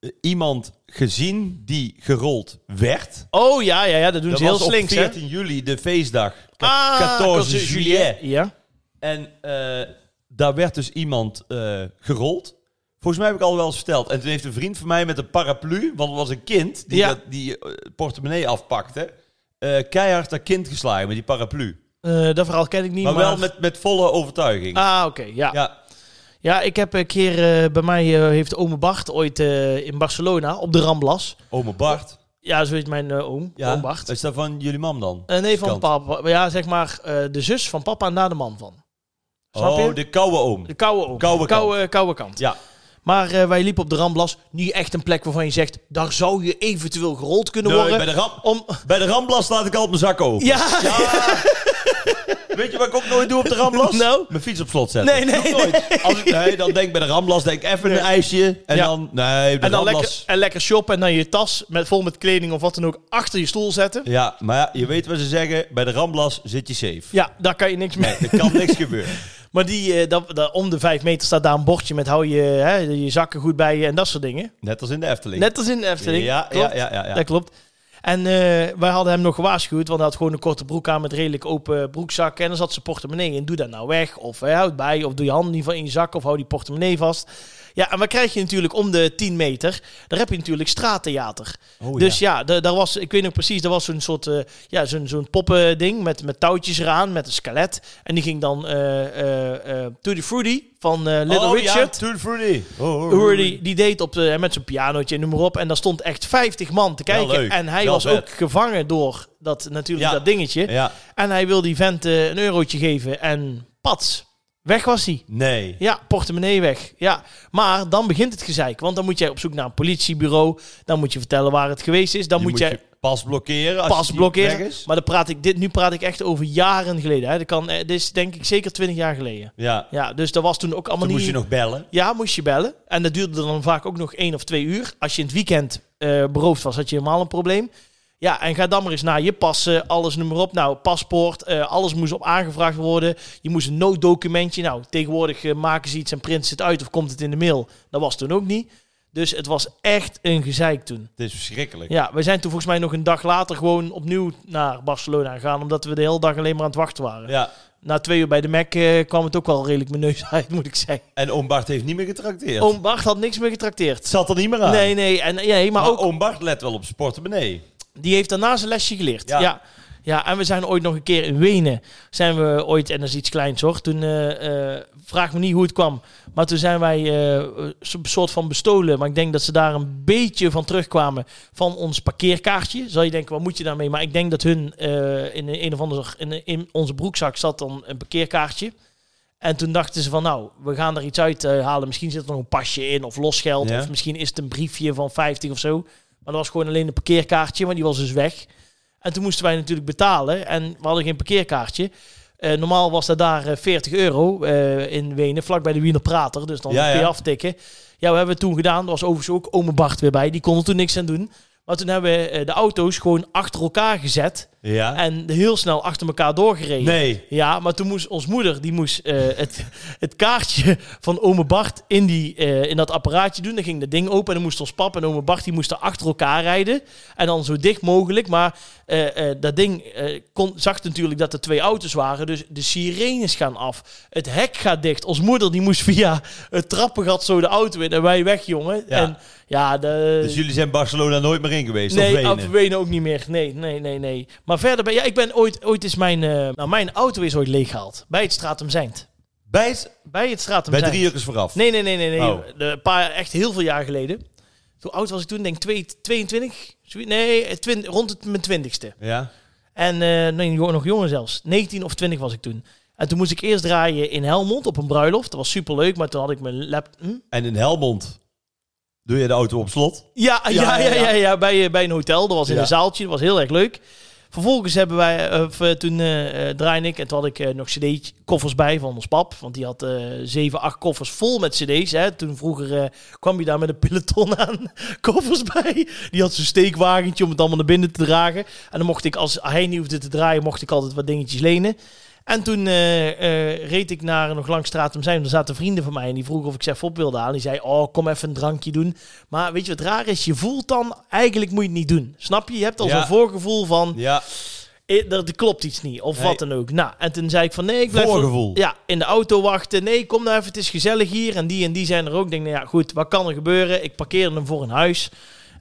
Speaker 2: eh, iemand gezien die gerold werd.
Speaker 1: Oh ja, ja, ja, dat doen
Speaker 2: Dat
Speaker 1: ze heel
Speaker 2: was op
Speaker 1: slinks, hè?
Speaker 2: 14 juli, de feestdag.
Speaker 1: Ah,
Speaker 2: 14 juillet.
Speaker 1: Ja.
Speaker 2: En eh, daar werd dus iemand eh, gerold. Volgens mij heb ik al wel eens verteld. En toen heeft een vriend van mij met een paraplu, want het was een kind die,
Speaker 1: Ja.
Speaker 2: dat, die eh, het portemonnee afpakte, eh, keihard dat kind geslagen met die paraplu.
Speaker 1: Eh, dat verhaal ken ik niet,
Speaker 2: Maar
Speaker 1: maar...
Speaker 2: wel met, met volle overtuiging.
Speaker 1: Ah, oké, ja.
Speaker 2: Ja,
Speaker 1: Ja, ik heb een keer eh, bij mij eh, heeft ome Bart ooit eh, in Barcelona op de Ramblas.
Speaker 2: oma Bart.
Speaker 1: Ja, zo heet mijn eh, oom,
Speaker 2: Ja,
Speaker 1: oom Bart.
Speaker 2: Is dat van jullie mam dan?
Speaker 1: Eh, nee, van
Speaker 2: Kant.
Speaker 1: papa. Ja, zeg maar eh, de zus van papa en daar de man van. Snap
Speaker 2: oh,
Speaker 1: je?
Speaker 2: de koude oom.
Speaker 1: De koude oom.
Speaker 2: Koude kant.
Speaker 1: Koude, eh, koude kant.
Speaker 2: Ja,
Speaker 1: Maar eh, wij liepen op de Ramblas. Niet echt een plek waarvan je zegt, daar zou je eventueel gerold kunnen
Speaker 2: Nee,
Speaker 1: worden.
Speaker 2: bij, de ram,
Speaker 1: Om...
Speaker 2: bij de Ramblas laat ik altijd mijn zak open.
Speaker 1: Ja,
Speaker 2: Weet je wat ik ook nooit doe op de Ramblas?
Speaker 1: Nou?
Speaker 2: Mijn fiets op slot zetten.
Speaker 1: Nee, nee,
Speaker 2: Doe ik nooit. Als ik, nee, dan denk ik bij de Ramblas, denk ik even een ijsje. En
Speaker 1: Ja.
Speaker 2: dan, nee, de
Speaker 1: en dan lekker,
Speaker 2: Ramblas.
Speaker 1: en lekker shoppen en dan je tas met, vol met kleding of wat dan ook achter je stoel zetten.
Speaker 2: Ja, maar ja, je weet wat ze zeggen. Bij de Ramblas zit je safe.
Speaker 1: Ja, daar kan je niks mee.
Speaker 2: Nee, er kan niks gebeuren.
Speaker 1: Maar die, eh, dat, dat- om de vijf meter staat daar een bordje met hou je, hè, je zakken goed bij je en dat soort dingen.
Speaker 2: Net als in de Efteling.
Speaker 1: Net als in de Efteling.
Speaker 2: ja,
Speaker 1: klopt.
Speaker 2: ja, ja, ja, ja.
Speaker 1: Dat klopt. En eh, wij hadden hem nog gewaarschuwd, want hij had gewoon een korte broek aan met redelijk open broekzak. En dan zat zijn portemonnee in. Doe dat nou weg, of eh, houd bij, of doe je hand niet van in je zak, of hou die portemonnee vast. Ja, en wat krijg je natuurlijk om de 10 meter? Daar heb je natuurlijk straattheater.
Speaker 2: Oh,
Speaker 1: dus ja, da- daar was, ik weet nog precies, daar was zo'n soort eh, ja, zo'n zo'n poppending met, met touwtjes eraan, met een skelet. En die ging dan eh eh eh To the Fruity van eh, Little
Speaker 2: oh,
Speaker 1: Richard.
Speaker 2: Ja, Toon Fruity. Oh, oh, oh.
Speaker 1: Hoor, die, die deed op de, met zijn pianootje en noem maar op. En daar stond echt 50 man te
Speaker 2: Wel
Speaker 1: kijken.
Speaker 2: leuk,
Speaker 1: en hij
Speaker 2: wel
Speaker 1: was
Speaker 2: vet.
Speaker 1: ook gevangen door dat, natuurlijk
Speaker 2: Ja.
Speaker 1: dat dingetje.
Speaker 2: Ja.
Speaker 1: En hij wilde die vent eh, een eurotje geven. En pats, weg was hij.
Speaker 2: Nee.
Speaker 1: Ja, portemonnee weg. Ja. Maar dan begint het gezeik. Want dan moet jij op zoek naar een politiebureau. Dan moet je vertellen waar het geweest is. Dan
Speaker 2: Je
Speaker 1: moet,
Speaker 2: moet
Speaker 1: jij
Speaker 2: je pas blokkeren. Als
Speaker 1: pas
Speaker 2: je die weg
Speaker 1: blokkeren.
Speaker 2: is.
Speaker 1: Maar dan praat ik, dit, nu praat ik echt over jaren geleden. Hè. Dat kan, eh, dit is denk ik zeker 20 jaar geleden.
Speaker 2: Ja.
Speaker 1: Ja, dus dat was toen ook allemaal niet...
Speaker 2: Dan moest je nog bellen.
Speaker 1: Ja, moest je bellen. En dat duurde dan vaak ook nog één of twee uur. Als je in het weekend eh, beroofd was, had je helemaal een probleem. Ja, en ga dan maar eens naar je passen, alles noem maar op. Nou, paspoort, eh, alles moest op aangevraagd worden. Je moest een nooddocumentje. Nou, tegenwoordig eh, maken ze iets en printen ze het uit of komt het in de mail. Dat was toen ook niet. Dus het was echt een gezeik toen.
Speaker 2: Het is verschrikkelijk.
Speaker 1: Ja, we zijn toen volgens mij nog een dag later gewoon opnieuw naar Barcelona gegaan. Omdat we de hele dag alleen maar aan het wachten waren.
Speaker 2: Ja.
Speaker 1: Na twee uur bij de Mac eh, kwam het ook wel redelijk mijn neus uit, moet ik zeggen.
Speaker 2: En oom Bart heeft niet meer getrakteerd.
Speaker 1: Oom Bart had niks meer getrakteerd.
Speaker 2: Het zat er niet meer aan.
Speaker 1: Nee, nee. En, nee maar,
Speaker 2: Maar
Speaker 1: ook,
Speaker 2: oom Bart let wel op zijn portemonnee.
Speaker 1: die heeft daarna zijn lesje geleerd.
Speaker 2: Ja.
Speaker 1: Ja. ja. en we zijn ooit nog een keer in Wenen. Zijn we ooit, en dat is iets kleins hoor. Toen, eh, eh, vraag me niet hoe het kwam. Maar toen zijn wij eh, een soort van bestolen. Maar ik denk dat ze daar een beetje van terugkwamen. Van ons parkeerkaartje. Zal je denken, wat moet je daarmee? Maar ik denk dat hun eh, in, een of ander, in, in onze broekzak zat dan een parkeerkaartje. En toen dachten ze van, nou, we gaan er iets uit eh, halen. Misschien zit er nog een pasje in of losgeld.
Speaker 2: Ja.
Speaker 1: Of misschien is het een briefje van 50 of zo. Maar dat was gewoon alleen een parkeerkaartje, maar die was dus weg. En toen moesten wij natuurlijk betalen en we hadden geen parkeerkaartje. Eh, normaal was dat daar eh, 40 euro eh, in Wenen, vlakbij de Wiener Prater. Dus dan
Speaker 2: Ja,
Speaker 1: kun je
Speaker 2: ja.
Speaker 1: aftikken. Ja, we hebben het toen gedaan. Er was overigens ook ome Bart weer bij. Die kon er toen niks aan doen. Maar toen hebben we eh, de auto's gewoon achter elkaar gezet.
Speaker 2: Ja.
Speaker 1: En heel snel achter elkaar doorgereden.
Speaker 2: Nee.
Speaker 1: Ja, maar toen moest ons moeder, die moest eh, het, het kaartje van ome Bart in, die, eh, in dat apparaatje doen. Dan ging dat ding open en dan moest ons pap en ome Bart, die moesten achter elkaar rijden. En dan zo dicht mogelijk. Maar eh, eh, dat ding eh, kon, zag natuurlijk dat er twee auto's waren. Dus de sirenes gaan af. Het hek gaat dicht. Ons moeder, die moest via het trappengat zo de auto in. En wij weg, jongen.
Speaker 2: Ja.
Speaker 1: En ja, de,
Speaker 2: Dus jullie zijn Barcelona nooit meer in geweest? of
Speaker 1: Nee,
Speaker 2: Wenen?
Speaker 1: af Wenen ook niet meer. Nee, nee, nee, nee. Maar verder ben ja, ik ben ooit, ooit is mijn, eh, nou, mijn auto is ooit leeggehaald bij het Stratum Zijnd.
Speaker 2: Bij, het-
Speaker 1: Bij het Stratum
Speaker 2: bij
Speaker 1: Zijnd.
Speaker 2: drie uur vooraf?
Speaker 1: Nee, nee, nee, nee, nee.
Speaker 2: Oh.
Speaker 1: De- Een paar, echt heel veel jaar geleden. Hoe oud was ik toen? Denk ik twee- 22? Zoiets? Nee, eh, twin- rond het, mijn twintigste.
Speaker 2: Ja?
Speaker 1: En eh, nee, jo- nog jonger zelfs. 19 of 20 was ik toen. En toen moest ik eerst draaien in Helmond op een bruiloft. Dat was superleuk, maar toen had ik mijn lap... Hm?
Speaker 2: En in Helmond doe je de auto op slot?
Speaker 1: Ja, ja, ja, ja, ja, bij, eh, bij een hotel. Dat was in
Speaker 2: Ja.
Speaker 1: een zaaltje. Dat was heel erg leuk. Vervolgens hebben wij, eh, of, eh, toen eh eh, draaide ik en toen had ik eh, nog cd-koffers bij van ons pap. Want die had eh zeven, acht koffers vol met cd's. Hè. Toen vroeger eh, kwam je daar met een peloton aan koffers bij. Die had zo'n steekwagentje om het allemaal naar binnen te dragen. En dan mocht ik, als hij niet hoefde te draaien, mocht ik altijd wat dingetjes lenen. En toen eh, eh, reed ik naar nog langs straat om zijn. Er zaten vrienden van mij en die vroegen of ik ze even op wilde halen. Die zei, oh, kom even een drankje doen. Maar weet je wat raar is? Je voelt dan, eigenlijk moet je het niet doen. Snap je? Je hebt al
Speaker 2: Ja.
Speaker 1: zo'n voorgevoel van,
Speaker 2: Ja.
Speaker 1: eh, er, er klopt iets niet. Of
Speaker 2: Nee.
Speaker 1: wat dan ook. Nou, en toen zei ik van, nee, ik blijf...
Speaker 2: Voorgevoel.
Speaker 1: Ja, in de auto wachten. Nee, kom nou even, het is gezellig hier. En die en die zijn er ook. Ik denk, nou ja, goed, wat kan er gebeuren? Ik parkeerde hem voor een huis.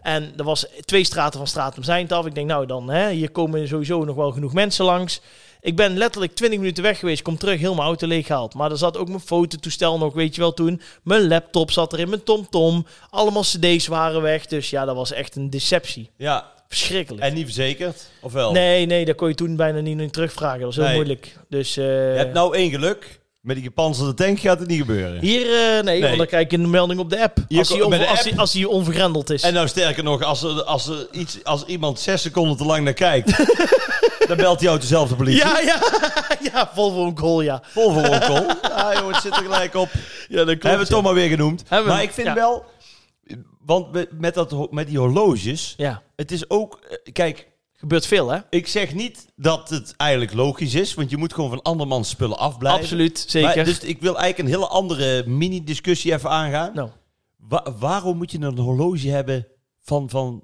Speaker 1: En er was twee straten van straat om zijn af. Ik denk, nou dan, hè, hier komen sowieso nog wel genoeg mensen langs. Ik ben letterlijk 20 minuten weg geweest, kom terug, heel mijn auto leeggehaald. Maar er zat ook mijn fototoestel nog, weet je wel, toen. Mijn laptop zat erin, mijn tomtom. Allemaal cd's waren weg, dus ja, dat was echt een deceptie.
Speaker 2: Ja.
Speaker 1: Verschrikkelijk.
Speaker 2: En niet verzekerd? Of wel?
Speaker 1: Nee, nee, dat kon je toen bijna niet meer terugvragen. Dat was heel
Speaker 2: Oh. Nee.
Speaker 1: moeilijk. Dus, eh,
Speaker 2: Je hebt nou één geluk. Met die gepanzerde tank gaat het niet gebeuren.
Speaker 1: Hier, eh, nee, want dan krijg je een melding op de app.
Speaker 2: Hier
Speaker 1: als,
Speaker 2: ko-
Speaker 1: hij
Speaker 2: bij de
Speaker 1: onver- als,
Speaker 2: app.
Speaker 1: hij, als hij onvergrendeld is.
Speaker 2: En nou sterker nog, als, er, als, er iets, als iemand zes seconden te lang naar kijkt, dan belt hij auto zelf de politie.
Speaker 1: ja, ja, ja, Volvo een goal, ja.
Speaker 2: Vol voor onkel. Ja jongen, het zit er gelijk op.
Speaker 1: Ja, dat
Speaker 2: Hebben we het toch maar weer genoemd.
Speaker 1: Hebben we-
Speaker 2: maar ik vind
Speaker 1: ja.
Speaker 2: wel, want we- met, dat, ho- met die horloges,
Speaker 1: Ja,
Speaker 2: het is ook, eh, kijk,
Speaker 1: gebeurt veel, hè?
Speaker 2: ik zeg niet dat het eigenlijk logisch is, want je moet gewoon van andermans spullen afblijven.
Speaker 1: Absoluut,
Speaker 2: Maar-
Speaker 1: zeker.
Speaker 2: dus ik wil eigenlijk een hele andere mini-discussie even aangaan.
Speaker 1: nou,
Speaker 2: Wa- waarom moet je een horloge hebben van, van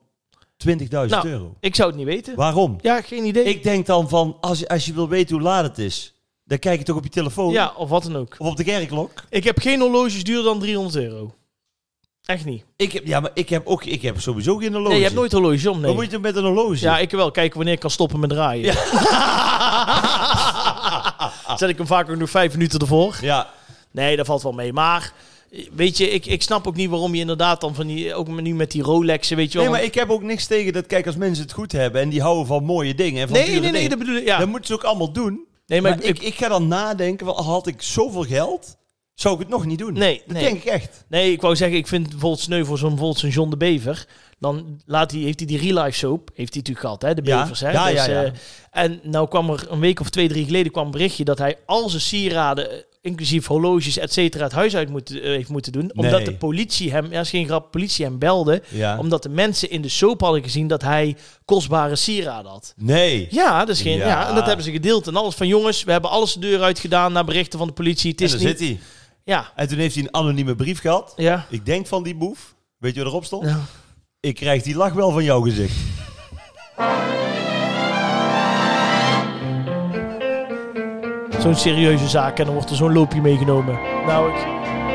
Speaker 2: 20.000
Speaker 1: Nou.
Speaker 2: euro?
Speaker 1: ik zou het niet weten.
Speaker 2: Waarom?
Speaker 1: Ja, geen idee.
Speaker 2: Ik denk dan van, als je, als je wil weten hoe laat het is, dan kijk je toch op je telefoon
Speaker 1: ja, of wat dan ook.
Speaker 2: of op de kerkklok.
Speaker 1: Ik heb geen horloges duurder dan 300 euro. Echt niet.
Speaker 2: Ik heb, ja, maar ik heb, ook, ik heb sowieso geen horloge.
Speaker 1: Nee, je hebt nooit horloges om,
Speaker 2: Wat
Speaker 1: nee.
Speaker 2: moet je doen met een horloge?
Speaker 1: Ja, ik wel. Kijken wanneer ik kan stoppen met draaien. Zet ik hem vaak ook nog vijf minuten ervoor.
Speaker 2: ja.
Speaker 1: Nee, dat valt wel mee. Maar eh, weet je, ik, ik snap ook niet waarom je inderdaad dan van die, ook nu met die Rolexen, weet je wel.
Speaker 2: Nee, maar ik heb ook niks tegen dat, kijk, als mensen het goed hebben en die houden van mooie dingen. En van
Speaker 1: nee, nee,
Speaker 2: dure
Speaker 1: nee,
Speaker 2: dingen,
Speaker 1: dat bedoel ik. Ja.
Speaker 2: dan moeten ze ook allemaal doen.
Speaker 1: nee,
Speaker 2: Maar, ik, ik, ga dan nadenken, wel, had ik zoveel geld, zou ik het nog niet doen.
Speaker 1: Nee,
Speaker 2: dat
Speaker 1: nee.
Speaker 2: denk ik echt.
Speaker 1: nee, ik wou zeggen, ik vind bijvoorbeeld sneu voor zo'n bijvoorbeeld zo'n John de Bever. Dan laat hij, heeft hij die real life soap, heeft hij natuurlijk gehad, hè, de
Speaker 2: Ja.
Speaker 1: Bevers. Hè?
Speaker 2: Ja, ja, ja.
Speaker 1: eh, en nou kwam er een week of twee, drie geleden kwam een berichtje dat hij al zijn sieraden, eh, inclusief horloges, et cetera, het huis uit moet, eh, heeft moeten doen. Omdat
Speaker 2: Nee.
Speaker 1: de politie hem, ja, is geen grap, politie hem belde.
Speaker 2: Ja.
Speaker 1: Omdat de mensen in de soap hadden gezien dat hij kostbare sieraden had.
Speaker 2: Nee.
Speaker 1: Ja, dat is geen. Ja.
Speaker 2: Ja.
Speaker 1: en dat hebben ze gedeeld en alles van jongens. We hebben alles de deur uit gedaan naar berichten van de politie. Het
Speaker 2: En
Speaker 1: is
Speaker 2: daar
Speaker 1: niet.
Speaker 2: zit hij.
Speaker 1: Ja,
Speaker 2: En toen heeft hij een anonieme brief gehad.
Speaker 1: ja.
Speaker 2: Ik denk van die boef. Weet je wat erop stond?
Speaker 1: Ja.
Speaker 2: Ik krijg die lach wel van jouw gezicht.
Speaker 1: Zo'n serieuze zaak en dan wordt er zo'n loopje meegenomen. Nou, ik,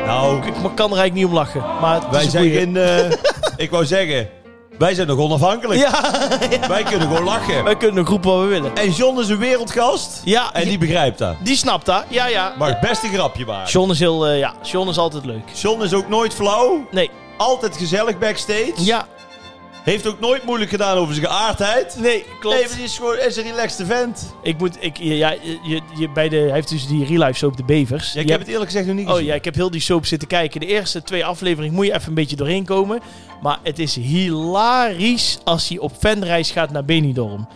Speaker 2: Nou,
Speaker 1: ik kan er eigenlijk niet om lachen. Maar het
Speaker 2: wij
Speaker 1: is een
Speaker 2: zijn
Speaker 1: goeie.
Speaker 2: geen... eh, ik wou zeggen, wij zijn nog onafhankelijk.
Speaker 1: Ja,
Speaker 2: Wij kunnen gewoon lachen.
Speaker 1: wij kunnen een groep wat we willen.
Speaker 2: En John is een wereldgast.
Speaker 1: Ja,
Speaker 2: En die begrijpt dat.
Speaker 1: die snapt dat. Ja, ja.
Speaker 2: Mag best een grapje maken.
Speaker 1: John is heel. eh, ja, John is altijd leuk.
Speaker 2: John is ook nooit flauw.
Speaker 1: Nee.
Speaker 2: Altijd gezellig backstage.
Speaker 1: Ja,
Speaker 2: Heeft ook nooit moeilijk gedaan over zijn geaardheid.
Speaker 1: nee,
Speaker 2: Nee, maar
Speaker 1: klopt.
Speaker 2: die is gewoon is een relaxed vent.
Speaker 1: Ik moet. Ik, ja, je, je, bij de, hij heeft dus die real life soap, de bevers.
Speaker 2: Ja,
Speaker 1: Die
Speaker 2: ik heb het eerlijk gezegd nog niet gezien.
Speaker 1: Oh ja, ik heb heel die soap zitten kijken. De eerste twee afleveringen moet je even een beetje doorheen komen. Maar het is hilarisch als hij op fanreis gaat naar Benidorm.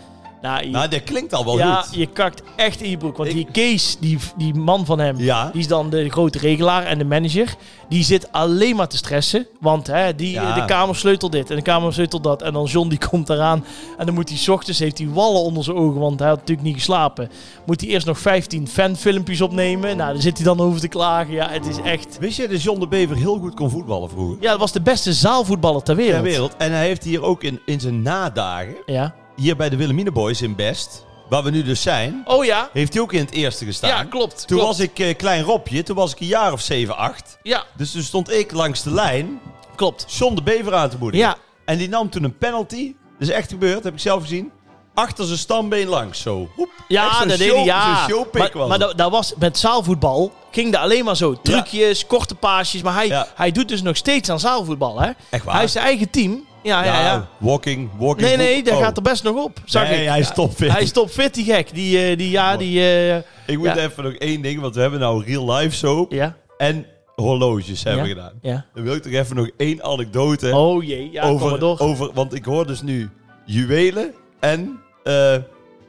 Speaker 1: Nou, je,
Speaker 2: Nou, dat klinkt al wel
Speaker 1: ja,
Speaker 2: goed.
Speaker 1: je kakt echt in je broek. Want
Speaker 2: Ik-
Speaker 1: die Kees, die, die man van hem,
Speaker 2: Ja.
Speaker 1: die is dan de grote regelaar en de manager. Die zit alleen maar te stressen. Want hè, die,
Speaker 2: Ja.
Speaker 1: de kamersleutel dit en de kamersleutel dat. En dan John die komt eraan. En dan moet hij 's ochtends, heeft hij wallen onder zijn ogen. Want hij had natuurlijk niet geslapen. Moet hij eerst nog 15 fanfilmpjes opnemen. Nou, daar zit hij dan over te klagen. Ja, het is echt...
Speaker 2: Wist je dat John de Bever heel goed kon voetballen vroeger?
Speaker 1: Ja, dat was de beste zaalvoetballer ter wereld.
Speaker 2: Ter wereld. En hij heeft hier ook in, in zijn nadagen,
Speaker 1: Ja.
Speaker 2: hier bij de Wilhelmine Boys in Best, waar we nu dus zijn,
Speaker 1: Oh ja.
Speaker 2: heeft hij ook in het eerste gestaan.
Speaker 1: Ja, klopt.
Speaker 2: Toen
Speaker 1: klopt.
Speaker 2: was ik eh, klein Robje, toen was ik een jaar of 7, 8.
Speaker 1: Ja,
Speaker 2: Dus toen stond ik langs de lijn
Speaker 1: klopt.
Speaker 2: John de Bever aan te moedigen.
Speaker 1: Ja.
Speaker 2: En die nam toen een penalty, dat is echt gebeurd, heb ik zelf gezien, achter zijn stambeen langs, zo. Hoep. Echt
Speaker 1: Ja,
Speaker 2: zo'n
Speaker 1: dat deed
Speaker 2: show-
Speaker 1: hij, ja.
Speaker 2: zo'n showpick
Speaker 1: maar
Speaker 2: was
Speaker 1: maar
Speaker 2: het.
Speaker 1: dat, dat was, met zaalvoetbal ging dat alleen maar zo. Trucjes, korte paasjes. Maar hij,
Speaker 2: Ja.
Speaker 1: hij doet dus nog steeds aan zaalvoetbal, hè?
Speaker 2: Echt waar?
Speaker 1: Hij is zijn eigen team. Ja, ja, ja.
Speaker 2: Ja, walking, walking.
Speaker 1: Nee, nee,
Speaker 2: voet-
Speaker 1: daar
Speaker 2: Oh.
Speaker 1: gaat er best nog op. Zag
Speaker 2: Nee,
Speaker 1: ik.
Speaker 2: hij is topfit.
Speaker 1: Hij is topfit, die gek. Die, eh, die ja, die... eh,
Speaker 2: Ik moet
Speaker 1: Ja.
Speaker 2: even nog één ding, want we hebben nou real life soap
Speaker 1: ja,
Speaker 2: en horloges hebben
Speaker 1: Ja.
Speaker 2: we gedaan.
Speaker 1: ja.
Speaker 2: Dan wil ik toch even nog één anekdote
Speaker 1: Oh jee, ja, kom maar
Speaker 2: over,
Speaker 1: door.
Speaker 2: over, want ik hoor dus nu juwelen en eh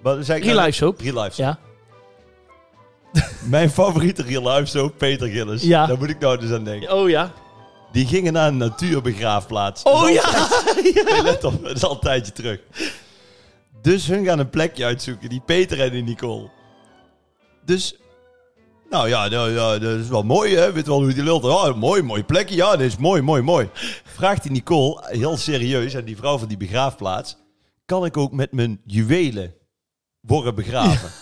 Speaker 2: wat zei ik?
Speaker 1: Real
Speaker 2: nou?
Speaker 1: life soap.
Speaker 2: Real life soap.
Speaker 1: Ja.
Speaker 2: Mijn favoriete real life soap, Peter Gillis.
Speaker 1: Ja.
Speaker 2: Daar moet ik nou dus aan denken.
Speaker 1: Oh ja.
Speaker 2: Die gingen naar een natuurbegraafplaats.
Speaker 1: Oh
Speaker 2: Dus
Speaker 1: ja. ja.
Speaker 2: al- Let op, dat is al een tijdje terug. Dus hun gaan een plekje uitzoeken, die Peter en die Nicole. Dus, nou ja, nou, ja, dat is wel mooi hè, weet wel hoe die lult. Oh, mooi, mooi plekje, ja, dat is mooi, mooi, mooi. Vraagt die Nicole, heel serieus, aan die vrouw van die begraafplaats... kan ik ook met mijn juwelen worden begraven?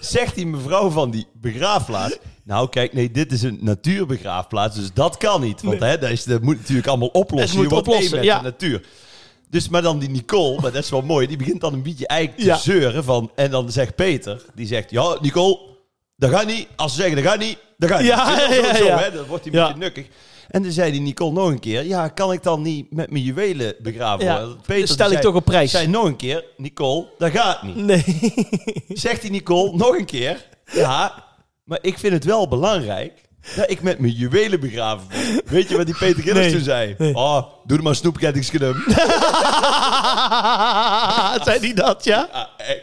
Speaker 2: Zegt die mevrouw van die begraafplaats... Nou, kijk, nee, dit is een natuurbegraafplaats, dus dat kan niet. Want hè, dat, is, dat moet natuurlijk allemaal oplossen.
Speaker 1: Het moet
Speaker 2: Je wordt één
Speaker 1: oplossen,
Speaker 2: met
Speaker 1: ja.
Speaker 2: de natuur. Dus, maar dan die Nicole, maar dat is wel mooi, die begint dan een beetje eigenlijk te
Speaker 1: Ja.
Speaker 2: zeuren van... En dan zegt Peter, die zegt, ja, Nicole, dat gaat niet. Als ze zeggen, dat gaat niet, dat gaat niet.
Speaker 1: Ja,
Speaker 2: Zo, zo,
Speaker 1: ja,
Speaker 2: zo,
Speaker 1: ja.
Speaker 2: Hè, dan wordt hij een
Speaker 1: Ja.
Speaker 2: beetje nukkig. En dan zei die Nicole nog een keer, ja, kan ik dan niet met mijn juwelen begraven
Speaker 1: Ja,
Speaker 2: worden? Peter
Speaker 1: stel
Speaker 2: die
Speaker 1: ik
Speaker 2: zei-
Speaker 1: toch op prijs.
Speaker 2: Zei nog een keer, Nicole, dat gaat niet.
Speaker 1: Nee.
Speaker 2: Zegt die Nicole nog een keer, ja, maar ik vind het wel belangrijk dat ik met mijn juwelen begraven word. Weet je wat die Peter Gillis
Speaker 1: Nee.
Speaker 2: toen zei? Oh, doe er maar snoepkettingsgedum.
Speaker 1: Zei die dat, ja?
Speaker 2: Ah, echt.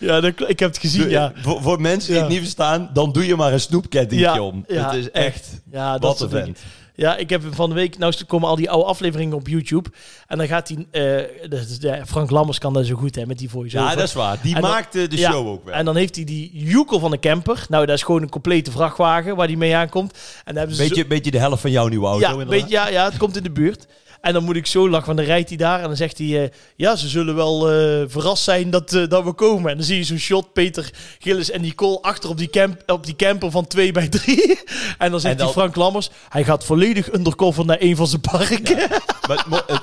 Speaker 1: Ja, dat, kl- ik heb het gezien, ja.
Speaker 2: Voor, voor mensen die
Speaker 1: Ja.
Speaker 2: het niet verstaan, dan doe je maar een snoepkettingje
Speaker 1: Ja,
Speaker 2: om.
Speaker 1: ja,
Speaker 2: het is echt...
Speaker 1: Ja,
Speaker 2: Wat
Speaker 1: dat soort
Speaker 2: een
Speaker 1: dingen. Ja, ik heb van de week, nou komen al die oude afleveringen op YouTube. En dan gaat die, eh, dat is de- Frank Lammers kan dat zo goed hè, met die voice
Speaker 2: Ja, dat is waar. Die
Speaker 1: En dan-
Speaker 2: maakte de show ook wel.
Speaker 1: En dan heeft hij die Joekel van de camper. Nou, dat is gewoon een complete vrachtwagen waar die mee aankomt. En dan hebben ze zo-
Speaker 2: Beetje, beetje de helft van jouw nieuwe auto
Speaker 1: ja,
Speaker 2: inderdaad.
Speaker 1: weet, ja, ja, het komt in de buurt. En dan moet ik zo lachen, want dan rijdt hij daar en dan zegt hij... eh, ja, ze zullen wel eh, verrast zijn dat, eh, dat we komen. En dan zie je zo'n shot, Peter Gillis en Nicole achter op die, camp, op die camper van 2 bij 3. En dan zegt
Speaker 2: En dan-
Speaker 1: die Frank Lammers... Hij gaat volledig undercover naar een van zijn parken.
Speaker 2: Maar het, mo- het,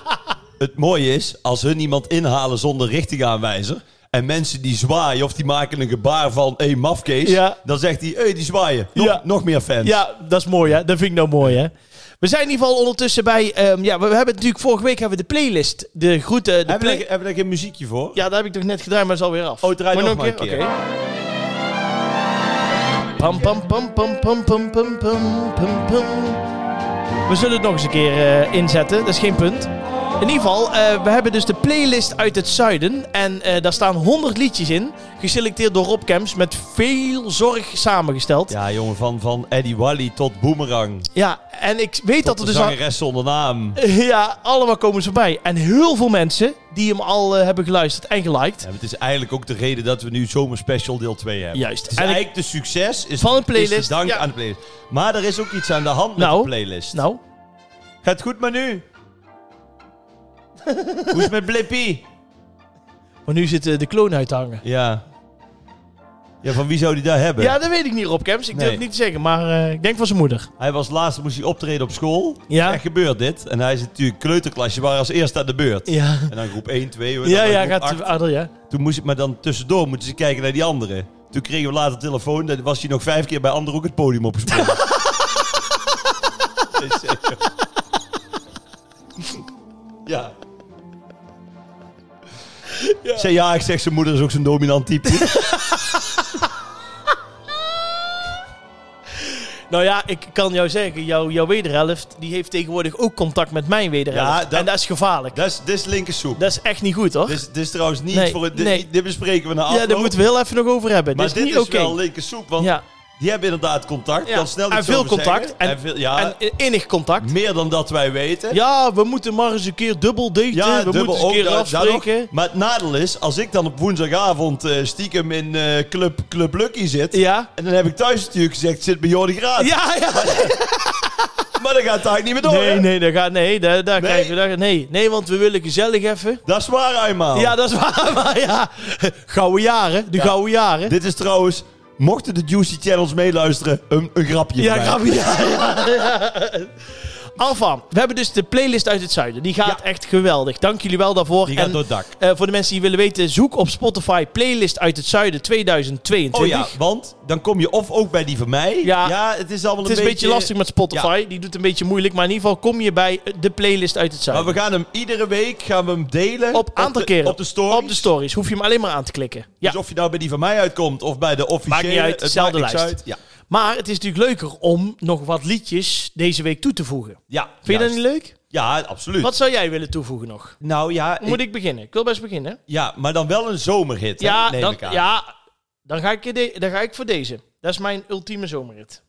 Speaker 2: het mooie is, als hun iemand inhalen zonder richtingaanwijzer... en mensen die zwaaien of die maken een gebaar van... hé, hey, mafkees,
Speaker 1: Ja.
Speaker 2: dan zegt hij... hé, hey, die zwaaien. Nog,
Speaker 1: Ja.
Speaker 2: nog meer fans.
Speaker 1: Ja, dat is mooi hè. Dat vind ik nou mooi hè. We zijn in ieder geval ondertussen bij... ehm, ja, we hebben natuurlijk vorige week hebben we de playlist. De groeten... De
Speaker 2: Hebben we
Speaker 1: play-
Speaker 2: daar- hebben we daar geen muziekje voor?
Speaker 1: ja, dat heb ik toch net gedaan, maar dat is alweer af.
Speaker 2: Oh, draai
Speaker 1: Maar
Speaker 2: nog
Speaker 1: nog
Speaker 2: maar een
Speaker 1: keer?
Speaker 2: keer.
Speaker 1: Oké. Pam, pam, pam, pam, pam, pam, pam, pam, pam, pam. We zullen het nog eens een keer eh, inzetten, dat is geen punt. In ieder geval, eh, we hebben dus de playlist uit het zuiden. En eh, daar staan 100 liedjes in, geselecteerd door Rob Kemps, met veel zorg samengesteld. Ja,
Speaker 2: Ja, jongen, van, van Eddie Wally tot Boomerang.
Speaker 1: en ik weet dat
Speaker 2: Tot
Speaker 1: er
Speaker 2: de
Speaker 1: dus aan-
Speaker 2: zangeres zonder naam.
Speaker 1: Ja, allemaal komen ze voorbij. En heel veel mensen die hem al eh, hebben geluisterd en geliked.
Speaker 2: Ja, maar het is eigenlijk ook de reden dat we nu zomerspecial deel 2 hebben.
Speaker 1: Juist.
Speaker 2: Dus
Speaker 1: En ik-
Speaker 2: eigenlijk de succes is,
Speaker 1: Van de
Speaker 2: is
Speaker 1: playlist,
Speaker 2: dank
Speaker 1: ja.
Speaker 2: aan de playlist. Maar er is ook iets aan de hand met
Speaker 1: Nou,
Speaker 2: de playlist.
Speaker 1: Nou,
Speaker 2: Gaat het goed, Manu? Hoe is het met Blippy?
Speaker 1: maar nu zit eh, de kloon uit te hangen.
Speaker 2: Ja. Ja, van wie zou die daar hebben?
Speaker 1: Ja, dat weet ik niet, Rob Kemps. Ik
Speaker 2: Nee.
Speaker 1: durf het niet te zeggen, maar eh, ik denk van zijn moeder.
Speaker 2: Hij was laatst, moest hij optreden op school.
Speaker 1: Ja.
Speaker 2: Ja. Echt gebeurt dit. En hij is natuurlijk kleuterklasje, maar als eerste aan de beurt.
Speaker 1: Ja,
Speaker 2: En dan groep 1, 2. hoor,
Speaker 1: ja,
Speaker 2: dan
Speaker 1: ja
Speaker 2: groep
Speaker 1: gaat
Speaker 2: acht.
Speaker 1: Adel, ja.
Speaker 2: Toen moest ik, maar dan tussendoor moeten ze kijken naar die anderen. Toen kregen we later telefoon, dan was hij nog vijf keer bij anderen ook het podium opgesprongen. Is zeker. ja. Ik zei ja, ik zeg zijn moeder is ook zo'n dominant type.
Speaker 1: Nou ja, ik kan jou zeggen, jouw, jouw wederhelft die heeft tegenwoordig ook contact met mijn wederhelft.
Speaker 2: Ja, dat-
Speaker 1: En dat is gevaarlijk.
Speaker 2: Dat is, dit is linkersoep.
Speaker 1: Dat is echt niet goed, hoor.
Speaker 2: Dit is, dit is trouwens niet
Speaker 1: Nee,
Speaker 2: voor het... Dit,
Speaker 1: nee.
Speaker 2: dit bespreken we na afloop.
Speaker 1: ja, daar moeten we heel even nog over hebben.
Speaker 2: Maar
Speaker 1: dit is
Speaker 2: dit
Speaker 1: niet
Speaker 2: is
Speaker 1: oké.
Speaker 2: wel linkersoep, want
Speaker 1: Ja.
Speaker 2: die hebben inderdaad contact.
Speaker 1: Ja,
Speaker 2: Kan snel
Speaker 1: en
Speaker 2: iets over
Speaker 1: veel contact,
Speaker 2: zeggen.
Speaker 1: en-
Speaker 2: veel, ja,
Speaker 1: En innig contact.
Speaker 2: meer dan dat wij weten.
Speaker 1: Ja, we moeten maar eens een keer dubbel Oh, daten. we moeten eens een
Speaker 2: ook,
Speaker 1: keer
Speaker 2: dat- dat
Speaker 1: afspreken.
Speaker 2: nog. Maar het nadeel is, als ik dan op woensdagavond eh, stiekem in eh, Club, Club Lucky zit...
Speaker 1: Ja.
Speaker 2: En dan heb ik thuis natuurlijk gezegd, zit bij Jordi Graat.
Speaker 1: Ja, ja.
Speaker 2: Maar dan gaat het eigenlijk niet meer door.
Speaker 1: Nee,
Speaker 2: hè?
Speaker 1: nee, dat gaat, nee, daar, daar
Speaker 2: Nee?
Speaker 1: krijgen we... Daar, nee. nee, want we willen gezellig even.
Speaker 2: Dat is waar, eenmaal.
Speaker 1: Ja, dat is waar. Maar ja, gouden jaren. De gouden jaren.
Speaker 2: Dit is trouwens, mochten de Juicy Channels meeluisteren, een, een grapje.
Speaker 1: Ja,
Speaker 2: erbij.
Speaker 1: grapje. Ja, ja. Alfa, we hebben dus de playlist uit het zuiden. Die gaat
Speaker 2: Ja.
Speaker 1: echt geweldig. Dank jullie wel daarvoor.
Speaker 2: Die gaat
Speaker 1: En,
Speaker 2: door het dak.
Speaker 1: eh, voor de mensen die willen weten, zoek op Spotify playlist uit het zuiden 2022.
Speaker 2: Oh ja, want dan kom je of ook bij die van mij.
Speaker 1: Ja.
Speaker 2: het is allemaal
Speaker 1: Het is een beetje lastig met Spotify. Die doet een beetje moeilijk. Maar in ieder geval kom je bij de playlist uit het
Speaker 2: Maar
Speaker 1: zuiden.
Speaker 2: we gaan hem iedere week gaan we hem delen.
Speaker 1: op aantal
Speaker 2: de-
Speaker 1: keren.
Speaker 2: Op de story.
Speaker 1: Op de stories. Hoef je hem alleen maar aan te klikken. Ja.
Speaker 2: Dus of je nou bij die van mij uitkomt of bij de officiële.
Speaker 1: Maakt niet uit,
Speaker 2: het
Speaker 1: dezelfde
Speaker 2: maakt niks
Speaker 1: lijst.
Speaker 2: uit. Ja.
Speaker 1: Maar het is natuurlijk leuker om nog wat liedjes deze week toe te voegen. Vind
Speaker 2: ja
Speaker 1: je dat
Speaker 2: juist.
Speaker 1: niet leuk?
Speaker 2: Ja, absoluut.
Speaker 1: Wat zou jij willen toevoegen nog?
Speaker 2: Nou ja,
Speaker 1: Moet
Speaker 2: ik-
Speaker 1: ik beginnen? Ik wil best beginnen.
Speaker 2: ja, maar dan wel een zomerhit. hè,
Speaker 1: Ja,
Speaker 2: neem
Speaker 1: dan,
Speaker 2: ik aan.
Speaker 1: ja dan, ga ik, de- dan ga ik voor deze. Dat is mijn ultieme zomerrit.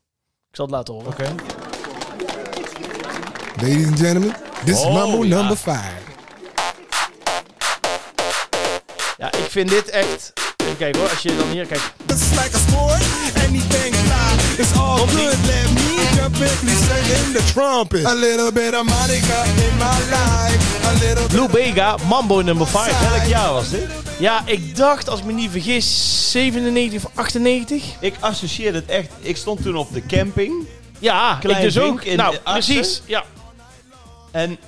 Speaker 1: Ik zal het laten horen.
Speaker 2: Oké.
Speaker 3: Ladies and gentlemen, this
Speaker 2: Oh,
Speaker 3: is Mambo
Speaker 2: ja.
Speaker 3: number five.
Speaker 1: Ja, ik vind dit echt... Even kijken hoor, als je dan hier... Kijk,
Speaker 3: It's like a sport, anything fly. It's all good, let me jump in, please sing in the trumpet. A little bit of Monica in my life. A little bit
Speaker 1: Blue Bega, Mambo nummer 5.
Speaker 2: Welk jaar was dit?
Speaker 1: Ja, ik dacht, als ik me niet vergis, 97 of 98?
Speaker 2: Ik associeer het echt. Ik stond toen op de camping.
Speaker 1: Ja,
Speaker 2: Klein
Speaker 1: ik dus
Speaker 2: Vink
Speaker 1: ook.
Speaker 2: in
Speaker 1: nou,
Speaker 2: de Assen.
Speaker 1: precies. Ja.
Speaker 2: En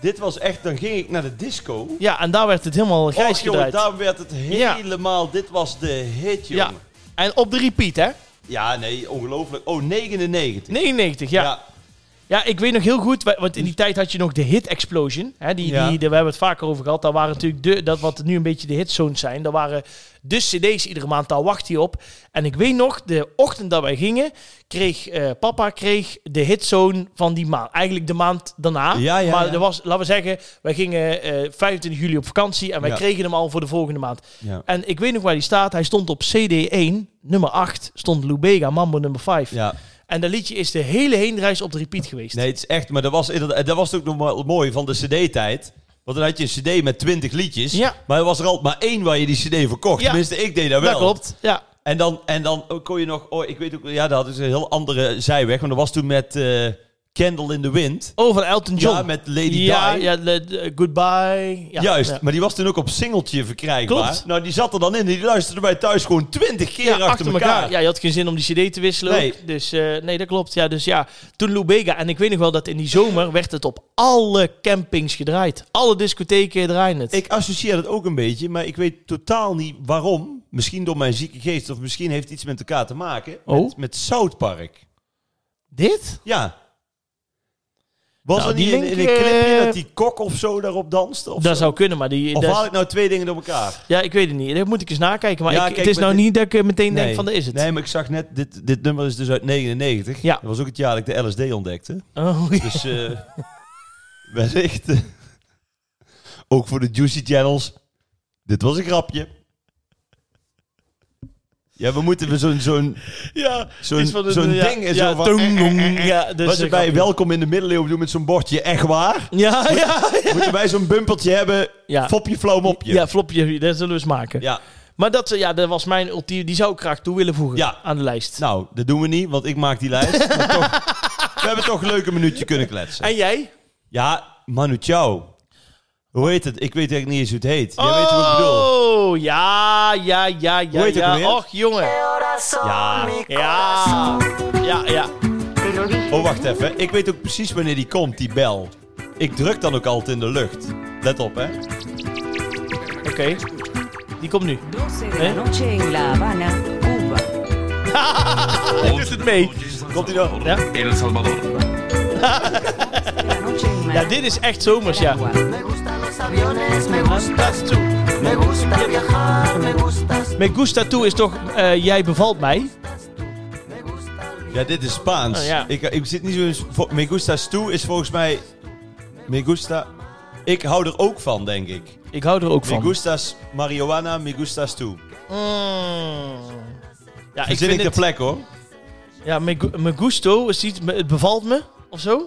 Speaker 2: dit was echt. Dan ging ik naar de disco.
Speaker 1: ja, en daar werd het helemaal grijs
Speaker 2: Och, jongen,
Speaker 1: gedraaid.
Speaker 2: daar werd het
Speaker 1: Ja.
Speaker 2: helemaal. Dit was de hit,
Speaker 1: ja.
Speaker 2: jongen.
Speaker 1: En op de repeat, hè?
Speaker 2: Ja, nee, ongelooflijk. Oh, 99.
Speaker 1: 99, ja. ja. ik weet nog heel goed, wa- want in die tijd had je nog de Hit Explosion. Hè, die,
Speaker 2: Dus- Ja.
Speaker 1: die, de- we hebben het vaker over gehad. Daar waren natuurlijk de, dat wat nu een beetje de hitzones zijn. Daar waren de CD's iedere maand, daar wacht hij op. En ik weet nog, de ochtend dat wij gingen, kreeg eh, papa kreeg de hitzone van die maand. Eigenlijk de maand daarna.
Speaker 2: Ja, ja,
Speaker 1: maar
Speaker 2: ja.
Speaker 1: er was, laten we zeggen, wij gingen eh 25 juli op vakantie en wij
Speaker 2: Ja.
Speaker 1: kregen hem al voor de volgende maand.
Speaker 2: Ja.
Speaker 1: En ik weet nog waar die staat. Hij stond op CD1, nummer 8, stond Lubega, Mambo nummer 5.
Speaker 2: ja.
Speaker 1: En dat liedje is de hele heenreis op de repeat geweest.
Speaker 2: Nee, het is echt, maar dat was, inderdaad, dat was ook nog wel mooi van de CD-tijd. Want dan had je een CD met 20 liedjes.
Speaker 1: Ja.
Speaker 2: Maar er was er altijd maar één waar je die CD voor kocht.
Speaker 1: Ja.
Speaker 2: Tenminste, ik deed dat wel.
Speaker 1: dat klopt. Ja.
Speaker 2: En dan, en dan kon je nog, oh, ik weet ook, ja, dat is een heel andere zijweg. Want dat was toen met eh, Candle in the Wind.
Speaker 1: Oh, van Elton John.
Speaker 2: Ja, met Lady
Speaker 1: ja,
Speaker 2: Di.
Speaker 1: ja, le- de- eh, goodbye. Ja,
Speaker 2: Juist,
Speaker 1: ja.
Speaker 2: maar die was toen ook op singeltje verkrijgbaar.
Speaker 1: Klopt.
Speaker 2: Nou, die zat er dan in en die luisterde bij thuis gewoon 20 keer
Speaker 1: Ja,
Speaker 2: achter, elkaar.
Speaker 1: Ja, je had geen zin om die cd te wisselen
Speaker 2: Nee.
Speaker 1: ook. Dus eh, nee, dat klopt. Ja, dus ja, toen Lubega. En ik weet nog wel dat in die zomer werd het op alle campings gedraaid. Alle discotheken draaien het.
Speaker 2: Ik associeer dat ook een beetje, maar ik weet totaal niet waarom. Misschien door mijn zieke geest of misschien heeft het iets met elkaar te maken. Met,
Speaker 1: Oh.
Speaker 2: met South Park.
Speaker 1: Dit?
Speaker 2: Ja. Was
Speaker 1: Nou,
Speaker 2: er
Speaker 1: die
Speaker 2: niet in,
Speaker 1: link,
Speaker 2: in een clipje
Speaker 1: eh,
Speaker 2: dat die kok of zo daarop danste? Of,
Speaker 1: dat
Speaker 2: zo?
Speaker 1: zou kunnen, maar die...
Speaker 2: of
Speaker 1: dat-
Speaker 2: haal ik nou twee dingen door elkaar?
Speaker 1: ja, ik weet het niet. Dat moet ik eens nakijken. Maar
Speaker 2: Ja,
Speaker 1: ik- het
Speaker 2: kijk,
Speaker 1: is
Speaker 2: maar
Speaker 1: nou
Speaker 2: dit-
Speaker 1: niet dat ik eh, meteen denk van, dat is het.
Speaker 2: Nee, maar ik zag net, dit, dit nummer is dus uit 99.
Speaker 1: Ja.
Speaker 2: Dat was ook het jaar dat ik de LSD ontdekte.
Speaker 1: Oh, ja.
Speaker 2: Dus eh wellicht, eh, ook voor de Juicy Channels, dit was een grapje. Ja, we moeten we zo'n zo'n
Speaker 1: Ja,
Speaker 2: Zo'n-
Speaker 1: iets van een-
Speaker 2: zo'n
Speaker 1: ja,
Speaker 2: ding en
Speaker 1: ja,
Speaker 2: zo van- eh,
Speaker 1: toeng, toeng, Ja, dus
Speaker 2: wat ze
Speaker 1: eh,
Speaker 2: bij
Speaker 1: grappig.
Speaker 2: welkom in de middeleeuwen doen met zo'n bordje echt waar.
Speaker 1: Ja, ja, ja.
Speaker 2: Moeten wij zo'n bumpertje hebben?
Speaker 1: Ja.
Speaker 2: Fopje flauw mopje.
Speaker 1: Ja, flopje, dat zullen we eens maken.
Speaker 2: ja.
Speaker 1: Maar dat, eh, ja, dat was mijn ultieme, die zou ik graag toe willen voegen
Speaker 2: Ja.
Speaker 1: aan de lijst.
Speaker 2: Nou, dat doen we niet, want ik maak die lijst. Maar toch, we hebben toch een leuke minuutje kunnen kletsen.
Speaker 1: En jij?
Speaker 2: Ja, Manu Chao. Hoe heet het? Ik weet eigenlijk niet eens hoe het heet. Jij weet wat ik bedoel.
Speaker 1: oh, ja, ja, ja, ja.
Speaker 2: Hoe heet het ook weer?
Speaker 1: ja. Och, jongen.
Speaker 2: Ja.
Speaker 1: Ja. Ja, ja.
Speaker 2: Oh, wacht even. Ik weet ook precies wanneer die komt, die bel. Ik druk dan ook altijd in de lucht. Let op, hè.
Speaker 1: Oké. Die komt nu.
Speaker 4: 12 de
Speaker 1: ¿Eh?
Speaker 4: la noche en La Habana, Cuba.
Speaker 1: Hij doet het mee.
Speaker 2: Komt hij dan?
Speaker 1: Ja.
Speaker 5: En El Salvador.
Speaker 4: De la noche en
Speaker 1: Ja, dit is echt zomers, ja.
Speaker 4: Managua.
Speaker 6: Me gustan los aviones, me
Speaker 1: Dat
Speaker 6: gustas tú.
Speaker 1: is toe.
Speaker 6: Me gusta viajar, me gustas,
Speaker 1: Met Gusta Toe is toch eh, Jij bevalt mij?
Speaker 6: me gusta el
Speaker 2: Ja, dit is Spaans.
Speaker 1: Oh, ja.
Speaker 2: ik, ik zit niet zo in... vo- Me gustas tú is volgens mij... Me gusta... Ik hou er ook van, denk ik.
Speaker 1: Ik hou er ook
Speaker 2: Me
Speaker 1: van.
Speaker 2: gustas marihuana, me gustas tú.
Speaker 1: Mm. Ja,
Speaker 2: Ik
Speaker 1: ik
Speaker 2: zit ik
Speaker 1: vind
Speaker 2: ter
Speaker 1: het...
Speaker 2: plek, hoor.
Speaker 1: Ja, me, gu- me gusto is iets... me- Het bevalt me, of zo.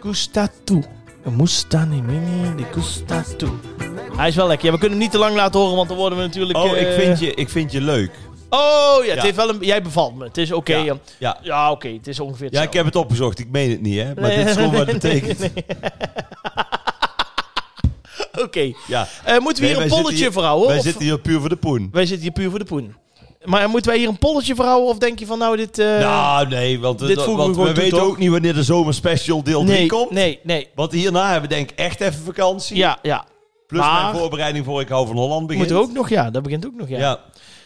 Speaker 1: Gusta tu. Musta ni mini de gusta tu. Hij is wel lekker. Ja, we kunnen hem niet te lang laten horen, want dan worden we natuurlijk...
Speaker 2: Oh, ik
Speaker 1: eh,
Speaker 2: vind je, ik vind je leuk.
Speaker 1: Oh, ja, het
Speaker 2: Ja.
Speaker 1: Heeft wel een... jij bevalt me. Het is oké.
Speaker 2: Ja.
Speaker 1: ja.
Speaker 2: Ja.
Speaker 1: Ja, oké. het is ongeveer
Speaker 2: ja, ik heb het opgezocht. Ik meen het niet, hè. Maar
Speaker 1: Nee,
Speaker 2: dit is gewoon wat het
Speaker 1: nee,
Speaker 2: betekent.
Speaker 1: hetzelfde. Oké.
Speaker 2: Ja.
Speaker 1: Eh, moeten we
Speaker 2: Nee,
Speaker 1: hier
Speaker 2: wij
Speaker 1: een
Speaker 2: zitten
Speaker 1: polletje
Speaker 2: hier-
Speaker 1: voor houden?
Speaker 2: Wij
Speaker 1: of-
Speaker 2: zitten hier puur voor de poen.
Speaker 1: Wij zitten hier puur voor de poen. Maar moeten wij hier een polletje voor houden? Of denk je van nou dit... eh,
Speaker 2: nou, nee, want,
Speaker 1: dit
Speaker 2: dit
Speaker 1: voegen we
Speaker 2: want we,
Speaker 1: gewoon toe,
Speaker 2: weten
Speaker 1: toch?
Speaker 2: ook niet wanneer de zomerspecial deel 3
Speaker 1: nee,
Speaker 2: komt.
Speaker 1: nee, nee.
Speaker 2: Want hierna hebben we denk ik echt even vakantie.
Speaker 1: Ja, ja.
Speaker 2: Plus
Speaker 1: maar-
Speaker 2: mijn voorbereiding voor Ik hou van Holland begint.
Speaker 1: Moet er ook nog, ja. Dat begint ook nog, ja.
Speaker 2: Ja.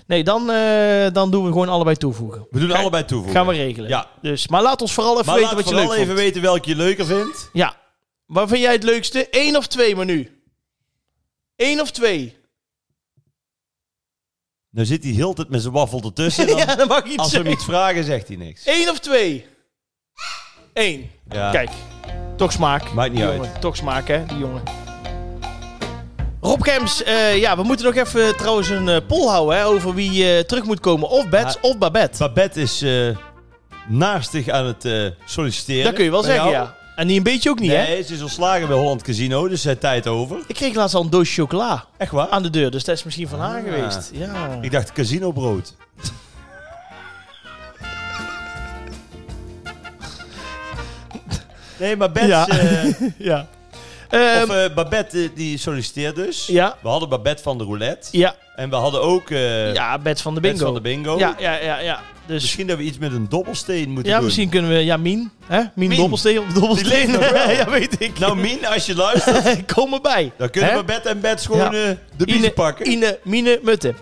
Speaker 1: Nee, dan, eh, dan doen we gewoon allebei toevoegen.
Speaker 2: We doen allebei toevoegen.
Speaker 1: Gaan we regelen.
Speaker 2: Ja.
Speaker 1: Dus, maar laat ons vooral even
Speaker 2: maar
Speaker 1: weten
Speaker 2: laat
Speaker 1: wat je
Speaker 2: vooral
Speaker 1: leuk
Speaker 2: even
Speaker 1: vond.
Speaker 2: weten welke je leuker vindt.
Speaker 1: Ja. Waar vind jij het leukste? Eén of twee menu? Eén of twee?
Speaker 2: Nou zit hij heel de tijd met zijn waffel ertussen. Dan,
Speaker 1: ja, dat mag niet
Speaker 2: als we
Speaker 1: zijn.
Speaker 2: hem iets vragen, zegt hij niks.
Speaker 1: Eén of twee? Eén.
Speaker 2: Ja.
Speaker 1: Kijk, toch smaak.
Speaker 2: Maakt niet
Speaker 1: Die
Speaker 2: uit.
Speaker 1: jongen, Toch smaak, hè, die jongen. Rob Gems, eh, ja, we moeten nog even trouwens een eh, poll houden hè, over wie eh, terug moet komen. Of Bets
Speaker 2: Ja.
Speaker 1: of Babette.
Speaker 2: Babette is eh, naastig aan het eh, solliciteren.
Speaker 1: Dat kun je wel
Speaker 2: bij
Speaker 1: zeggen,
Speaker 2: jou.
Speaker 1: ja. En die een beetje ook niet, hè?
Speaker 2: Nee, ze is ontslagen bij Holland Casino, dus zij tijd over.
Speaker 1: Ik kreeg laatst al een doosje chocola
Speaker 2: Echt waar?
Speaker 1: aan de deur, dus dat is misschien van haar
Speaker 2: Ah.
Speaker 1: geweest. Ja.
Speaker 2: Ik dacht casinobrood. nee, maar Bets,
Speaker 1: Ja.
Speaker 2: eh,
Speaker 1: ja. Ehm,
Speaker 2: of, eh, Babette eh, die solliciteert dus.
Speaker 1: Ja.
Speaker 2: We hadden Babette van de roulette.
Speaker 1: ja.
Speaker 2: En we hadden ook eh
Speaker 1: ja, Bets van de bingo.
Speaker 2: Bets van de bingo.
Speaker 1: Ja, ja, ja. ja. Dus,
Speaker 2: Misschien dat we iets met een dobbelsteen moeten
Speaker 1: ja,
Speaker 2: doen.
Speaker 1: misschien kunnen we... Ja, Mien. Hè? Mien,
Speaker 2: Mien.
Speaker 1: Dobbelsteen. of Dobbelsteen.
Speaker 2: leeft nog wel.
Speaker 1: ja, weet ik.
Speaker 2: Nou, Mien, als je luistert,
Speaker 1: Kom erbij.
Speaker 2: dan kunnen
Speaker 1: Hè?
Speaker 2: Babette en Bets gewoon
Speaker 1: Ja.
Speaker 2: eh, de biezen
Speaker 1: Ine,
Speaker 2: pakken.
Speaker 1: Ine, Mine, Mutte.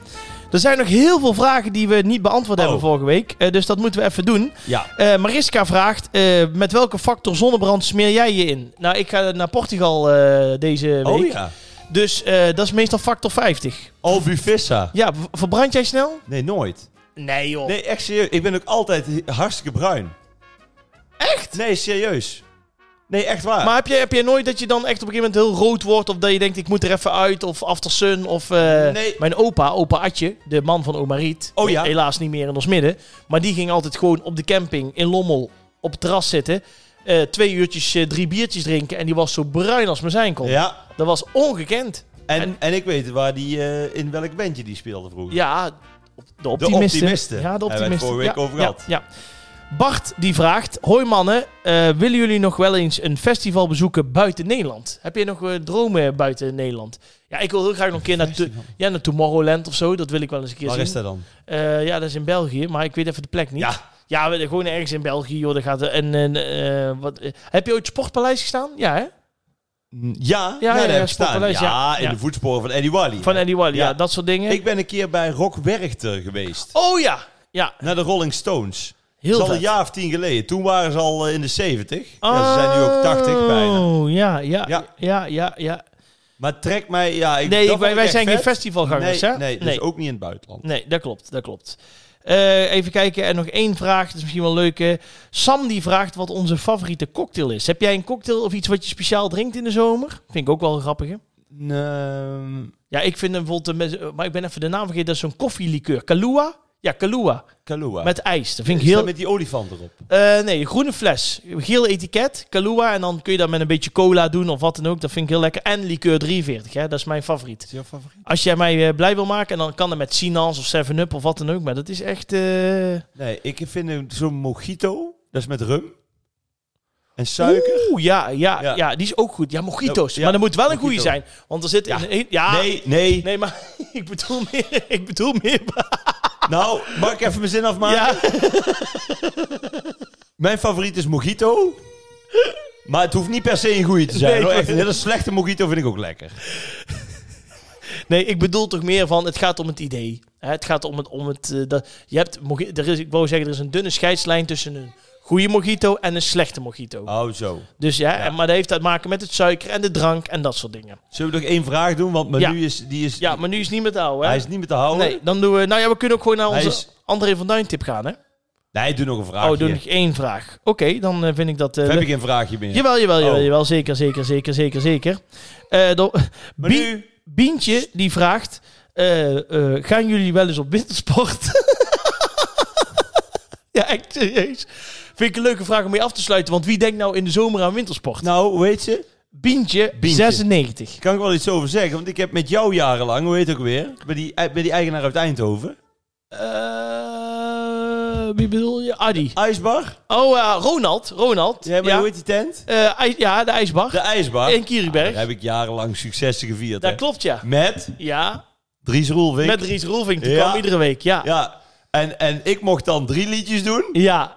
Speaker 1: Er zijn nog heel veel vragen die we niet beantwoord
Speaker 2: Oh.
Speaker 1: hebben vorige week. eh, dus dat moeten we even doen.
Speaker 2: Ja.
Speaker 1: Eh, Mariska vraagt, eh, met welke factor zonnebrand smeer jij je in? Nou, ik ga naar Portugal eh, deze week.
Speaker 2: Oh ja.
Speaker 1: Dus eh, dat is meestal factor 50.
Speaker 2: Albufissa.
Speaker 1: Ja, v- verbrand jij snel?
Speaker 2: Nee, nooit.
Speaker 1: Nee joh.
Speaker 2: Nee, echt serieus. Ik ben ook altijd hartstikke bruin. Echt? Nee, serieus. Nee, echt waar.
Speaker 1: Maar heb je, heb je nooit dat je dan echt op een gegeven moment heel rood wordt? Of dat je denkt, ik moet er even uit? Of After Sun? Of eh,
Speaker 2: Nee.
Speaker 1: mijn opa, opa Atje, de man van oma Riet.
Speaker 2: Oh ja.
Speaker 1: Helaas niet meer in ons midden. Maar die ging altijd gewoon op de camping in Lommel op het terras zitten. eh, twee uurtjes, eh, drie biertjes drinken. En die was zo bruin als maar zijn kon.
Speaker 2: Ja,
Speaker 1: Dat was ongekend.
Speaker 2: en, en,
Speaker 1: En-
Speaker 2: ik weet waar die, eh, in welk bandje die speelde vroeger.
Speaker 1: Ja, op- de optimisten.
Speaker 2: optimisten.
Speaker 1: Ja, de
Speaker 2: Hebben we het
Speaker 1: optimisten.
Speaker 2: vorige
Speaker 1: Ja,
Speaker 2: week over
Speaker 1: ja,
Speaker 2: gehad.
Speaker 1: Ja, Bart die vraagt: Hoi mannen, eh, willen jullie nog wel eens een festival bezoeken buiten Nederland? Heb je nog eh, dromen buiten Nederland? Ja, ik wil heel graag nog een keer naar, to- ja, naar Tomorrowland of zo. Dat wil ik wel eens een keer
Speaker 2: Waar
Speaker 1: zien.
Speaker 2: is dat dan?
Speaker 1: Eh, ja, dat is in België, maar ik weet even de plek niet.
Speaker 2: Ja.
Speaker 1: Ja, we- gewoon ergens in België, joh. Daar gaat er- en, en, eh, wat, eh, heb je ooit Sportpaleis gestaan? Ja, hè?
Speaker 2: Ja, ja,
Speaker 1: ja,
Speaker 2: daar
Speaker 1: ja,
Speaker 2: heb ik staan.
Speaker 1: Sportpaleis, ja.
Speaker 2: in
Speaker 1: Ja.
Speaker 2: de voetsporen van Eddie Wally.
Speaker 1: Van Eddie Wally, ja.
Speaker 2: Ja.
Speaker 1: dat soort dingen.
Speaker 2: Ik ben een keer bij Rock Werchter geweest.
Speaker 1: Oh ja, ja,
Speaker 2: Naar de Rolling Stones.
Speaker 1: heel
Speaker 2: dat is al
Speaker 1: vet.
Speaker 2: een jaar of tien geleden. Toen waren ze al eh, in de 70. Ja, ze zijn nu ook 80 bijna.
Speaker 1: Oh, ja, ja, ja,
Speaker 2: Ja.
Speaker 1: ja, ja, ja.
Speaker 2: Maar trek mij... Ja,
Speaker 1: Nee,
Speaker 2: ik, dat
Speaker 1: wij,
Speaker 2: vond
Speaker 1: wij
Speaker 2: ik echt
Speaker 1: zijn geen
Speaker 2: vet.
Speaker 1: festivalgangers,
Speaker 2: nee,
Speaker 1: hè?
Speaker 2: Nee, dus
Speaker 1: nee.
Speaker 2: ook niet in het buitenland.
Speaker 1: Nee, dat klopt, dat klopt. Eh, even kijken, en nog één vraag, dat is misschien wel een leuke. Sam die vraagt wat onze favoriete cocktail is. Heb jij een cocktail of iets wat je speciaal drinkt in de zomer? Vind ik ook wel een grappige.
Speaker 2: Ehm,
Speaker 1: Ja, ik vind hem bijvoorbeeld, een mes- maar ik ben even de naam vergeten, dat is zo'n koffielikeur. Kahlua? Ja, Kahlua.
Speaker 2: Kahlua.
Speaker 1: Met ijs. Dat vind
Speaker 2: Is
Speaker 1: ik heel...
Speaker 2: dat met die olifant erop.
Speaker 1: Eh, nee, groene fles. Geel etiket, Kahlua. En dan kun je dat met een beetje cola doen of wat dan ook. Dat vind ik heel lekker. En liqueur 43, hè? dat is mijn favoriet.
Speaker 2: Is jouw favoriet?
Speaker 1: Als jij mij eh, blij wil maken, en dan kan dat met Sinans of 7-Up of wat dan ook. Maar dat is echt... eh,
Speaker 2: Nee, ik vind een- zo'n mojito. Dat is met rum. En suiker.
Speaker 1: Oeh, ja, ja, ja,
Speaker 2: Ja.
Speaker 1: die is ook goed. Ja, mojito's.
Speaker 2: Ja,
Speaker 1: Maar dat moet wel een
Speaker 2: mojito.
Speaker 1: goede zijn. Want er zit...
Speaker 2: Ja.
Speaker 1: Een, ja,
Speaker 2: Nee, nee.
Speaker 1: Nee, maar ik bedoel meer... Ik bedoel meer...
Speaker 2: Nou, mag ik even mijn zin afmaken?
Speaker 1: ja,
Speaker 2: Mijn favoriet is mojito. Maar het hoeft niet per se een goeie te zijn.
Speaker 1: Nee,
Speaker 2: hoor.
Speaker 1: ik
Speaker 2: Echt, een
Speaker 1: weet-
Speaker 2: hele slechte mojito vind ik ook lekker.
Speaker 1: nee, ik bedoel toch meer van... Het gaat om het idee. Hè, Het gaat om het... Om het eh, dat, je hebt... moji- Er is, ik wou zeggen, er is een dunne scheidslijn tussen een goede mojito en een slechte mojito.
Speaker 2: Oh, zo.
Speaker 1: Dus ja, en- maar dat heeft te maken met het suiker en de drank en dat soort dingen.
Speaker 2: Zullen we nog één vraag doen? Want Manu
Speaker 1: Ja.
Speaker 2: is, die is,
Speaker 1: Ja, maar nu is het niet met ouwe, hè?
Speaker 2: hij is niet meer te houden.
Speaker 1: Nee, dan doen we... Nou ja, we kunnen ook gewoon naar
Speaker 2: Hij
Speaker 1: onze
Speaker 2: is- Ah,
Speaker 1: André van Duin tip gaan, hè?
Speaker 2: Nee, doe nog een vraagje.
Speaker 1: Oh, doe nog één vraag. Oké, dan eh, vind ik dat... eh,
Speaker 2: Of
Speaker 1: le-
Speaker 2: heb ik geen vraagje meer?
Speaker 1: Jawel, jawel, jawel,
Speaker 2: Oh.
Speaker 1: jawel. Zeker, zeker, zeker, zeker, zeker. Eh, dan-
Speaker 2: Maar
Speaker 1: Bie-
Speaker 2: nu-
Speaker 1: Bientje, die vraagt... eh, eh, gaan jullie wel eens op wintersport? ja, echt serieus. Vind ik een leuke vraag om mee af te sluiten. Want wie denkt nou in de zomer aan wintersport?
Speaker 2: Nou, weet je,
Speaker 1: Bientje,
Speaker 2: Bientje.
Speaker 1: 96.
Speaker 2: kan ik wel iets over zeggen. Want ik heb met jou jarenlang, hoe heet het ook weer, bij die, bij die eigenaar uit Eindhoven.
Speaker 1: Eh, wie bedoel je? Adi.
Speaker 2: IJsbar.
Speaker 1: Oh, eh, Ronald. Ronald.
Speaker 2: Ja, maar
Speaker 1: ja.
Speaker 2: hoe heet die tent?
Speaker 1: Eh, ij- ja, de ijsbar.
Speaker 2: De IJsbar.
Speaker 1: in Kierberg.
Speaker 2: Daar heb ik jarenlang successen gevierd.
Speaker 1: dat
Speaker 2: hè.
Speaker 1: klopt, ja.
Speaker 2: Met
Speaker 1: Ja,
Speaker 2: Dries Roelvink.
Speaker 1: met Ries Roelvink. Die
Speaker 2: Ja.
Speaker 1: kwam iedere week, ja. Ja,
Speaker 2: Ja, en, en ik mocht dan drie liedjes doen.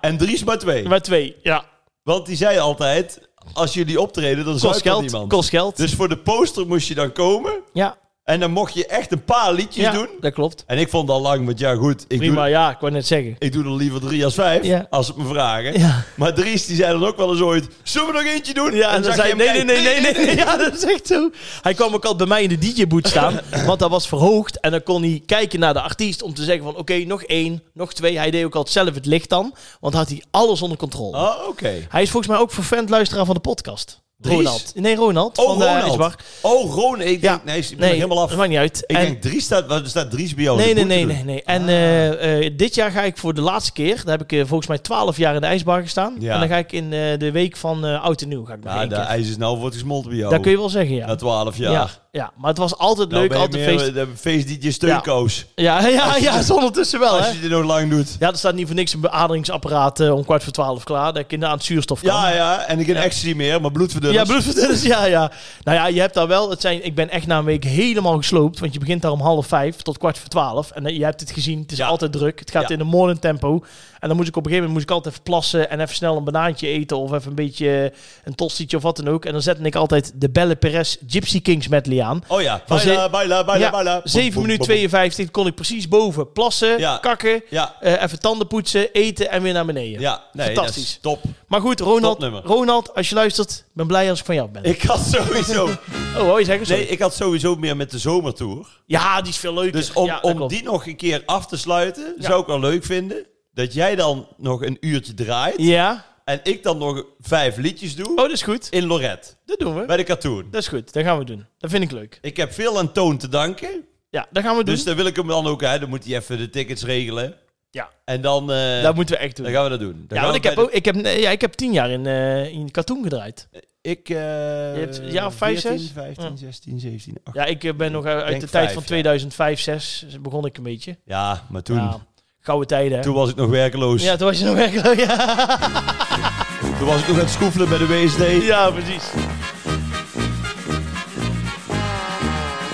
Speaker 2: En Dries maar twee.
Speaker 1: maar twee. Ja,
Speaker 2: Want die zei altijd, als jullie optreden, dan
Speaker 1: kost
Speaker 2: zuipt er
Speaker 1: geld.
Speaker 2: niemand.
Speaker 1: Kost geld.
Speaker 2: Dus voor de poster moest je dan komen.
Speaker 1: ja,
Speaker 2: En dan mocht je echt een paar liedjes
Speaker 1: ja
Speaker 2: doen.
Speaker 1: dat klopt.
Speaker 2: En ik vond al lang, want ja goed, ik
Speaker 1: Prima,
Speaker 2: doe,
Speaker 1: ja, ik wou net zeggen.
Speaker 2: ik doe er liever drie als vijf,
Speaker 1: Ja.
Speaker 2: als ze het me vragen.
Speaker 1: Ja.
Speaker 2: Maar Dries die zei dan ook wel eens ooit, zullen we nog eentje doen?
Speaker 1: Ja, en dan
Speaker 2: zag
Speaker 1: zei
Speaker 2: je
Speaker 1: nee, nee,
Speaker 2: hem kijken.
Speaker 1: nee, nee, nee, nee. Ja, dat is echt zo. Hij kwam ook altijd bij mij in de DJ-boot staan, want dat was verhoogd. En dan kon hij kijken naar de artiest om te zeggen van, oké, nog één, nog twee. Hij deed ook altijd zelf het licht dan, want had hij alles onder controle.
Speaker 2: Oh, oké.
Speaker 1: Hij is volgens mij ook vervent luisteraar van de podcast.
Speaker 2: Dries?
Speaker 1: Ronald. Nee, Ronald.
Speaker 2: Oh,
Speaker 1: van de
Speaker 2: Ronald.
Speaker 1: IJsbar.
Speaker 2: Oh, Ron, ik
Speaker 1: Ja,
Speaker 2: denk, nee, ik ben nog helemaal af.
Speaker 1: dat maakt niet uit.
Speaker 2: Ik
Speaker 1: En-
Speaker 2: denk, Dries staat, waar staat Dries bij jou?
Speaker 1: nee,
Speaker 2: Dat
Speaker 1: nee,
Speaker 2: moet je
Speaker 1: nee,
Speaker 2: Oh, doen. Ah.
Speaker 1: nee, nee. En eh, eh, dit jaar ga ik voor de laatste keer, daar heb ik eh, volgens mij twaalf jaar in de ijsbar gestaan.
Speaker 2: Ja.
Speaker 1: En dan ga ik in eh, de week van eh, Oud en Nieuw ga ik nog
Speaker 2: Ja,
Speaker 1: één
Speaker 2: de
Speaker 1: keer.
Speaker 2: ijs is nou wordt gesmolten bij jou.
Speaker 1: Dat kun je wel zeggen, ja.
Speaker 2: Na twaalf jaar.
Speaker 1: ja, ja. maar het was altijd
Speaker 2: Nou
Speaker 1: leuk,
Speaker 2: ben je
Speaker 1: altijd
Speaker 2: meer,
Speaker 1: feest.
Speaker 2: eh, De feest die je steunkoos.
Speaker 1: Ja, ja, ja, is ondertussen wel,
Speaker 2: Als
Speaker 1: hè.
Speaker 2: je dit nog lang doet.
Speaker 1: Ja, er staat niet voor niks een beaderingsapparaat eh, om kwart voor twaalf klaar, dat kinderen aan het zuurstof kan.
Speaker 2: Ja, ja. En ik heb
Speaker 1: Ja.
Speaker 2: echt niet meer, maar
Speaker 1: Ja,
Speaker 2: bloedverdunners.
Speaker 1: bloedverdunners, ja, ja. Nou ja, je hebt daar wel, het zijn, ik ben echt na een week helemaal gesloopt, want je begint daar om half vijf tot kwart voor twaalf. En eh, je hebt het gezien, het is
Speaker 2: Ja.
Speaker 1: altijd druk, het gaat
Speaker 2: Ja.
Speaker 1: in de morning tempo. En dan moest ik op een gegeven moment moest ik altijd even plassen en even snel een banaantje eten of even een beetje eh, een tostietje of wat dan ook. En dan zette ik altijd de Belle Perez Gypsy Kings medley aan.
Speaker 2: Oh ja.
Speaker 1: Was
Speaker 2: Baila,
Speaker 1: dit-
Speaker 2: baila, baila,
Speaker 1: Ja,
Speaker 2: baila.
Speaker 1: 7
Speaker 2: Boem, boem,
Speaker 1: minuten
Speaker 2: boem,
Speaker 1: 52 kon ik precies boven plassen,
Speaker 2: Ja.
Speaker 1: kakken,
Speaker 2: boem. Ja.
Speaker 1: eh, even tanden poetsen, eten en weer naar beneden.
Speaker 2: Ja, nee,
Speaker 1: Fantastisch.
Speaker 2: dat is top.
Speaker 1: Maar goed, Ronald,
Speaker 2: Topnummer.
Speaker 1: Ronald, als je luistert, ben blij als ik van jou ben.
Speaker 2: Ik had sowieso,
Speaker 1: Oh, wou je zeggen? Sorry.
Speaker 2: nee, ik had sowieso meer met de zomertour.
Speaker 1: Ja, die is veel leuker.
Speaker 2: Dus om,
Speaker 1: Ja, dat
Speaker 2: om
Speaker 1: klopt.
Speaker 2: die nog een keer af te sluiten,
Speaker 1: Ja.
Speaker 2: zou ik wel leuk vinden. Dat jij dan nog een uurtje draait.
Speaker 1: Ja.
Speaker 2: En ik dan nog vijf liedjes doe.
Speaker 1: Oh, dat is goed.
Speaker 2: In Lorette.
Speaker 1: Dat doen we.
Speaker 2: Bij de Katoen.
Speaker 1: Dat is goed. Dat gaan we doen. Dat vind ik leuk.
Speaker 2: Ik heb veel aan Toon te danken.
Speaker 1: Ja, dat gaan we doen.
Speaker 2: Dus dan wil ik hem dan ook, hè, dan moet hij even de tickets regelen.
Speaker 1: ja,
Speaker 2: En dan, eh,
Speaker 1: dat moeten we echt doen.
Speaker 2: dan gaan we dat doen. Dan
Speaker 1: ja, want
Speaker 2: gaan we
Speaker 1: ik heb,
Speaker 2: bij
Speaker 1: ook, ik, heb, nee, ja, ik heb tien jaar in, eh in Katoen gedraaid.
Speaker 2: de- Ik, eh
Speaker 1: hebt een jaar of vijf, zes?
Speaker 2: 15,
Speaker 1: Ja.
Speaker 2: 16, 17, 18. Ja.
Speaker 1: Ja, ik eh, ben nog uit
Speaker 2: denk
Speaker 1: de tijd
Speaker 2: vijf,
Speaker 1: van
Speaker 2: ja.
Speaker 1: 2005, 2006 begon ik een beetje.
Speaker 2: maar toen,
Speaker 1: Ja, gouden tijden. hè?
Speaker 2: toen was ik nog werkeloos.
Speaker 1: Ja, toen was je nog werkloos. Ja.
Speaker 2: Toen was ik nog aan het schoefelen bij de WSD.
Speaker 1: ja, precies.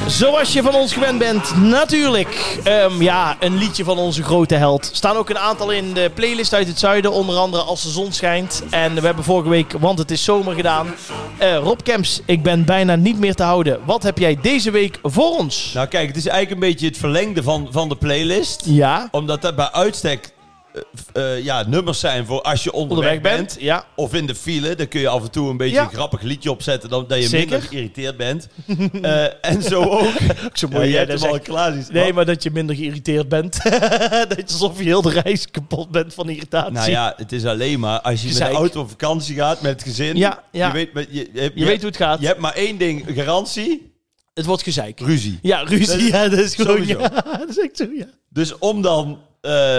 Speaker 1: Zoals je van ons gewend bent, natuurlijk. Ehm, ja, een liedje van onze grote held. Er staan ook een aantal in de playlist uit het zuiden. Onder andere Als de zon schijnt. En we hebben vorige week, want het is zomer gedaan. Eh, Rob Kemps, ik ben bijna niet meer te houden. Wat heb jij deze week voor ons?
Speaker 2: Nou kijk, het is eigenlijk een beetje het verlengde van, van de playlist.
Speaker 1: ja,
Speaker 2: Omdat dat bij uitstek eh, f- eh, ja, nummers zijn voor als je onderweg,
Speaker 1: onderweg
Speaker 2: bent.
Speaker 1: bent. Ja,
Speaker 2: Of in de file, dan kun je af en toe een beetje
Speaker 1: Ja.
Speaker 2: een grappig liedje opzetten. Dan, dat je
Speaker 1: Zeker.
Speaker 2: minder geïrriteerd bent. Eh, en zo ook.
Speaker 1: ook zo
Speaker 2: Ja,
Speaker 1: mooi.
Speaker 2: jij
Speaker 1: hè,
Speaker 2: hebt
Speaker 1: dat is
Speaker 2: hem al
Speaker 1: echt-
Speaker 2: klaar. die-
Speaker 1: Nee, maar dat je minder geïrriteerd bent. dat je alsof je heel de reis kapot bent van irritatie.
Speaker 2: Nou ja, het is alleen maar als je met
Speaker 1: Gezeik.
Speaker 2: de auto op vakantie gaat met het gezin.
Speaker 1: Ja, ja.
Speaker 2: Je, weet, maar je, je,
Speaker 1: je weet hoe het gaat.
Speaker 2: Je hebt maar één ding, garantie,
Speaker 1: Het wordt gezeik.
Speaker 2: ruzie.
Speaker 1: Ja, ruzie.
Speaker 2: Dat is-
Speaker 1: ja, dat is gewoon...
Speaker 2: sowieso.
Speaker 1: Ja, dat is echt zo, ja.
Speaker 2: Dus om dan, eh,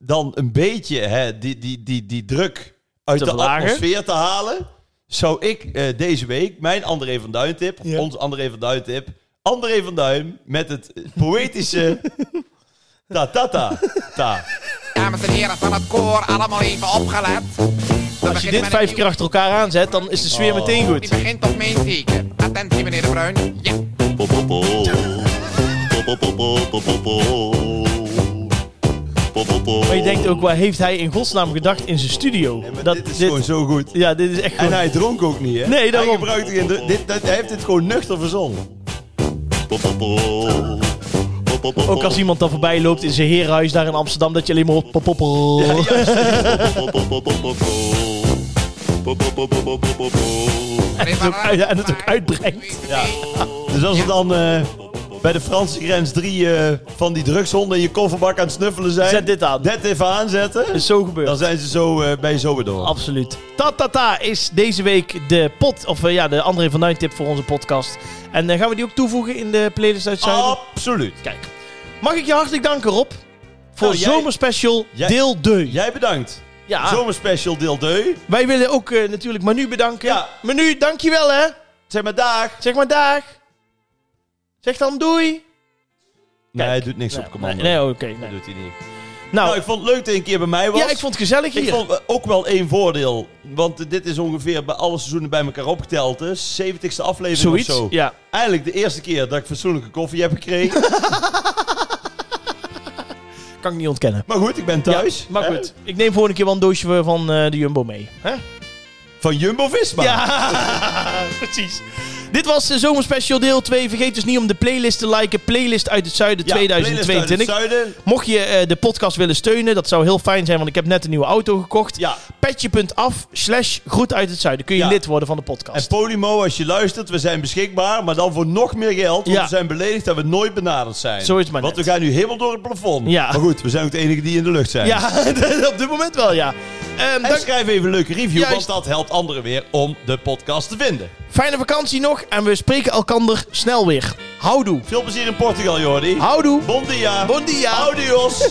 Speaker 2: dan een beetje hè, die, die, die, die druk uit
Speaker 1: Te
Speaker 2: de
Speaker 1: verlagen.
Speaker 2: atmosfeer te halen, zou ik eh, deze week mijn André van Duin tip, of
Speaker 1: Ja.
Speaker 2: ons André van Duin tip, André van Duin met het poëtische ta ta ta ta.
Speaker 5: Dames en heren van het koor, allemaal even opgelet.
Speaker 1: Als je dit vijf keer achter elkaar aanzet, dan is de sfeer
Speaker 2: Oh.
Speaker 1: meteen
Speaker 5: Die
Speaker 1: goed.
Speaker 5: begint op mijn teken. Attentie, meneer De Bruin. Ja.
Speaker 1: Maar je denkt ook, waar heeft hij in godsnaam gedacht in zijn studio?
Speaker 2: Dat, dit is gewoon zo goed.
Speaker 1: Ja, dit is echt
Speaker 2: En
Speaker 1: gewoon...
Speaker 2: hij dronk ook niet, hè?
Speaker 1: Nee, daarom.
Speaker 2: Hij, gebruikte geen dru- dit, dat- hij heeft dit gewoon nuchter verzonnen.
Speaker 1: Ook als iemand dan voorbij loopt in zijn herenhuis daar in Amsterdam, dat je alleen maar hoort... pop, pop, pop.
Speaker 5: En
Speaker 1: ook uit- en het ook uitbrengt.
Speaker 2: Dus als het dan eh, bij de Franse grens drie eh, van die drugshonden in je kofferbak aan het snuffelen zijn.
Speaker 1: Zet dit aan.
Speaker 2: Dit even aanzetten.
Speaker 1: is zo gebeurd.
Speaker 2: Dan zijn ze zo, eh, ben je zo weer door.
Speaker 1: Absoluut. Tatata is deze week de pot, of eh, ja, de André van Duin tip voor onze podcast. En eh, gaan we die ook toevoegen in de playlist uit Zuiden?
Speaker 2: Absoluut.
Speaker 1: Kijk. Mag ik je hartelijk danken, Rob, voor
Speaker 2: Nou, jij-
Speaker 1: zomerspecial
Speaker 2: jij-
Speaker 1: deel 2.
Speaker 2: Jij bedankt.
Speaker 1: ja,
Speaker 2: Zomerspecial deel 2.
Speaker 1: wij willen ook eh, natuurlijk Manu bedanken.
Speaker 2: Ja.
Speaker 1: Manu, dankjewel hè.
Speaker 2: Zeg maar dag.
Speaker 1: Zeg maar dag. Zeg dan doei.
Speaker 2: Nee, hij doet niks op commando.
Speaker 1: Nee, nee, oké.
Speaker 2: Dat
Speaker 1: nee.
Speaker 2: doet hij niet.
Speaker 1: Nou,
Speaker 2: Nou, ik vond het leuk dat je een keer bij mij was.
Speaker 1: ja, ik vond het gezellig hier.
Speaker 2: Ik vond eh, ook wel één voordeel. Want eh, dit is ongeveer bij alle seizoenen bij elkaar opgeteld. De 70ste aflevering
Speaker 1: Zoiets,
Speaker 2: of zo.
Speaker 1: ja.
Speaker 2: Eindelijk de eerste keer dat ik fatsoenlijke koffie heb gekregen.
Speaker 1: Kan ik niet ontkennen.
Speaker 2: maar goed, ik ben thuis.
Speaker 1: Ja, maar
Speaker 2: Hè?
Speaker 1: goed, ik neem volgende keer wel een doosje van eh, de Jumbo mee. Hè?
Speaker 2: Van Jumbo-Visma.
Speaker 1: Ja, precies. Dit was de zomerspecial deel 2. Vergeet dus niet om de playlist te liken. Playlist uit het zuiden
Speaker 2: Ja, playlist uit
Speaker 1: 2022.
Speaker 2: het zuiden.
Speaker 1: Mocht je eh, de podcast willen steunen, dat zou heel fijn zijn, want ik heb net een nieuwe auto gekocht.
Speaker 2: Ja.
Speaker 1: Petje.af slash groet uit het zuiden. Kun je
Speaker 2: Ja.
Speaker 1: lid worden van de
Speaker 2: En
Speaker 1: podcast.
Speaker 2: Podimo, als je luistert, we zijn beschikbaar, maar dan voor nog meer geld. Want
Speaker 1: Ja.
Speaker 2: we zijn beledigd dat we nooit benaderd zijn.
Speaker 1: Zo is het maar
Speaker 2: Want
Speaker 1: net.
Speaker 2: we gaan nu helemaal door het plafond.
Speaker 1: Ja.
Speaker 2: Maar goed, we zijn ook de enige die in de lucht zijn.
Speaker 1: ja, op dit moment wel, ja. Ehm,
Speaker 2: En
Speaker 1: dank-
Speaker 2: schrijf even een leuke review,
Speaker 1: Juist.
Speaker 2: want dat helpt anderen weer om de podcast te vinden.
Speaker 1: Fijne vakantie nog en we spreken elkander snel weer. Houdoe.
Speaker 2: Veel plezier in Portugal, Jordi.
Speaker 1: Houdoe.
Speaker 2: Bon dia.
Speaker 1: Bon dia.
Speaker 2: Adios.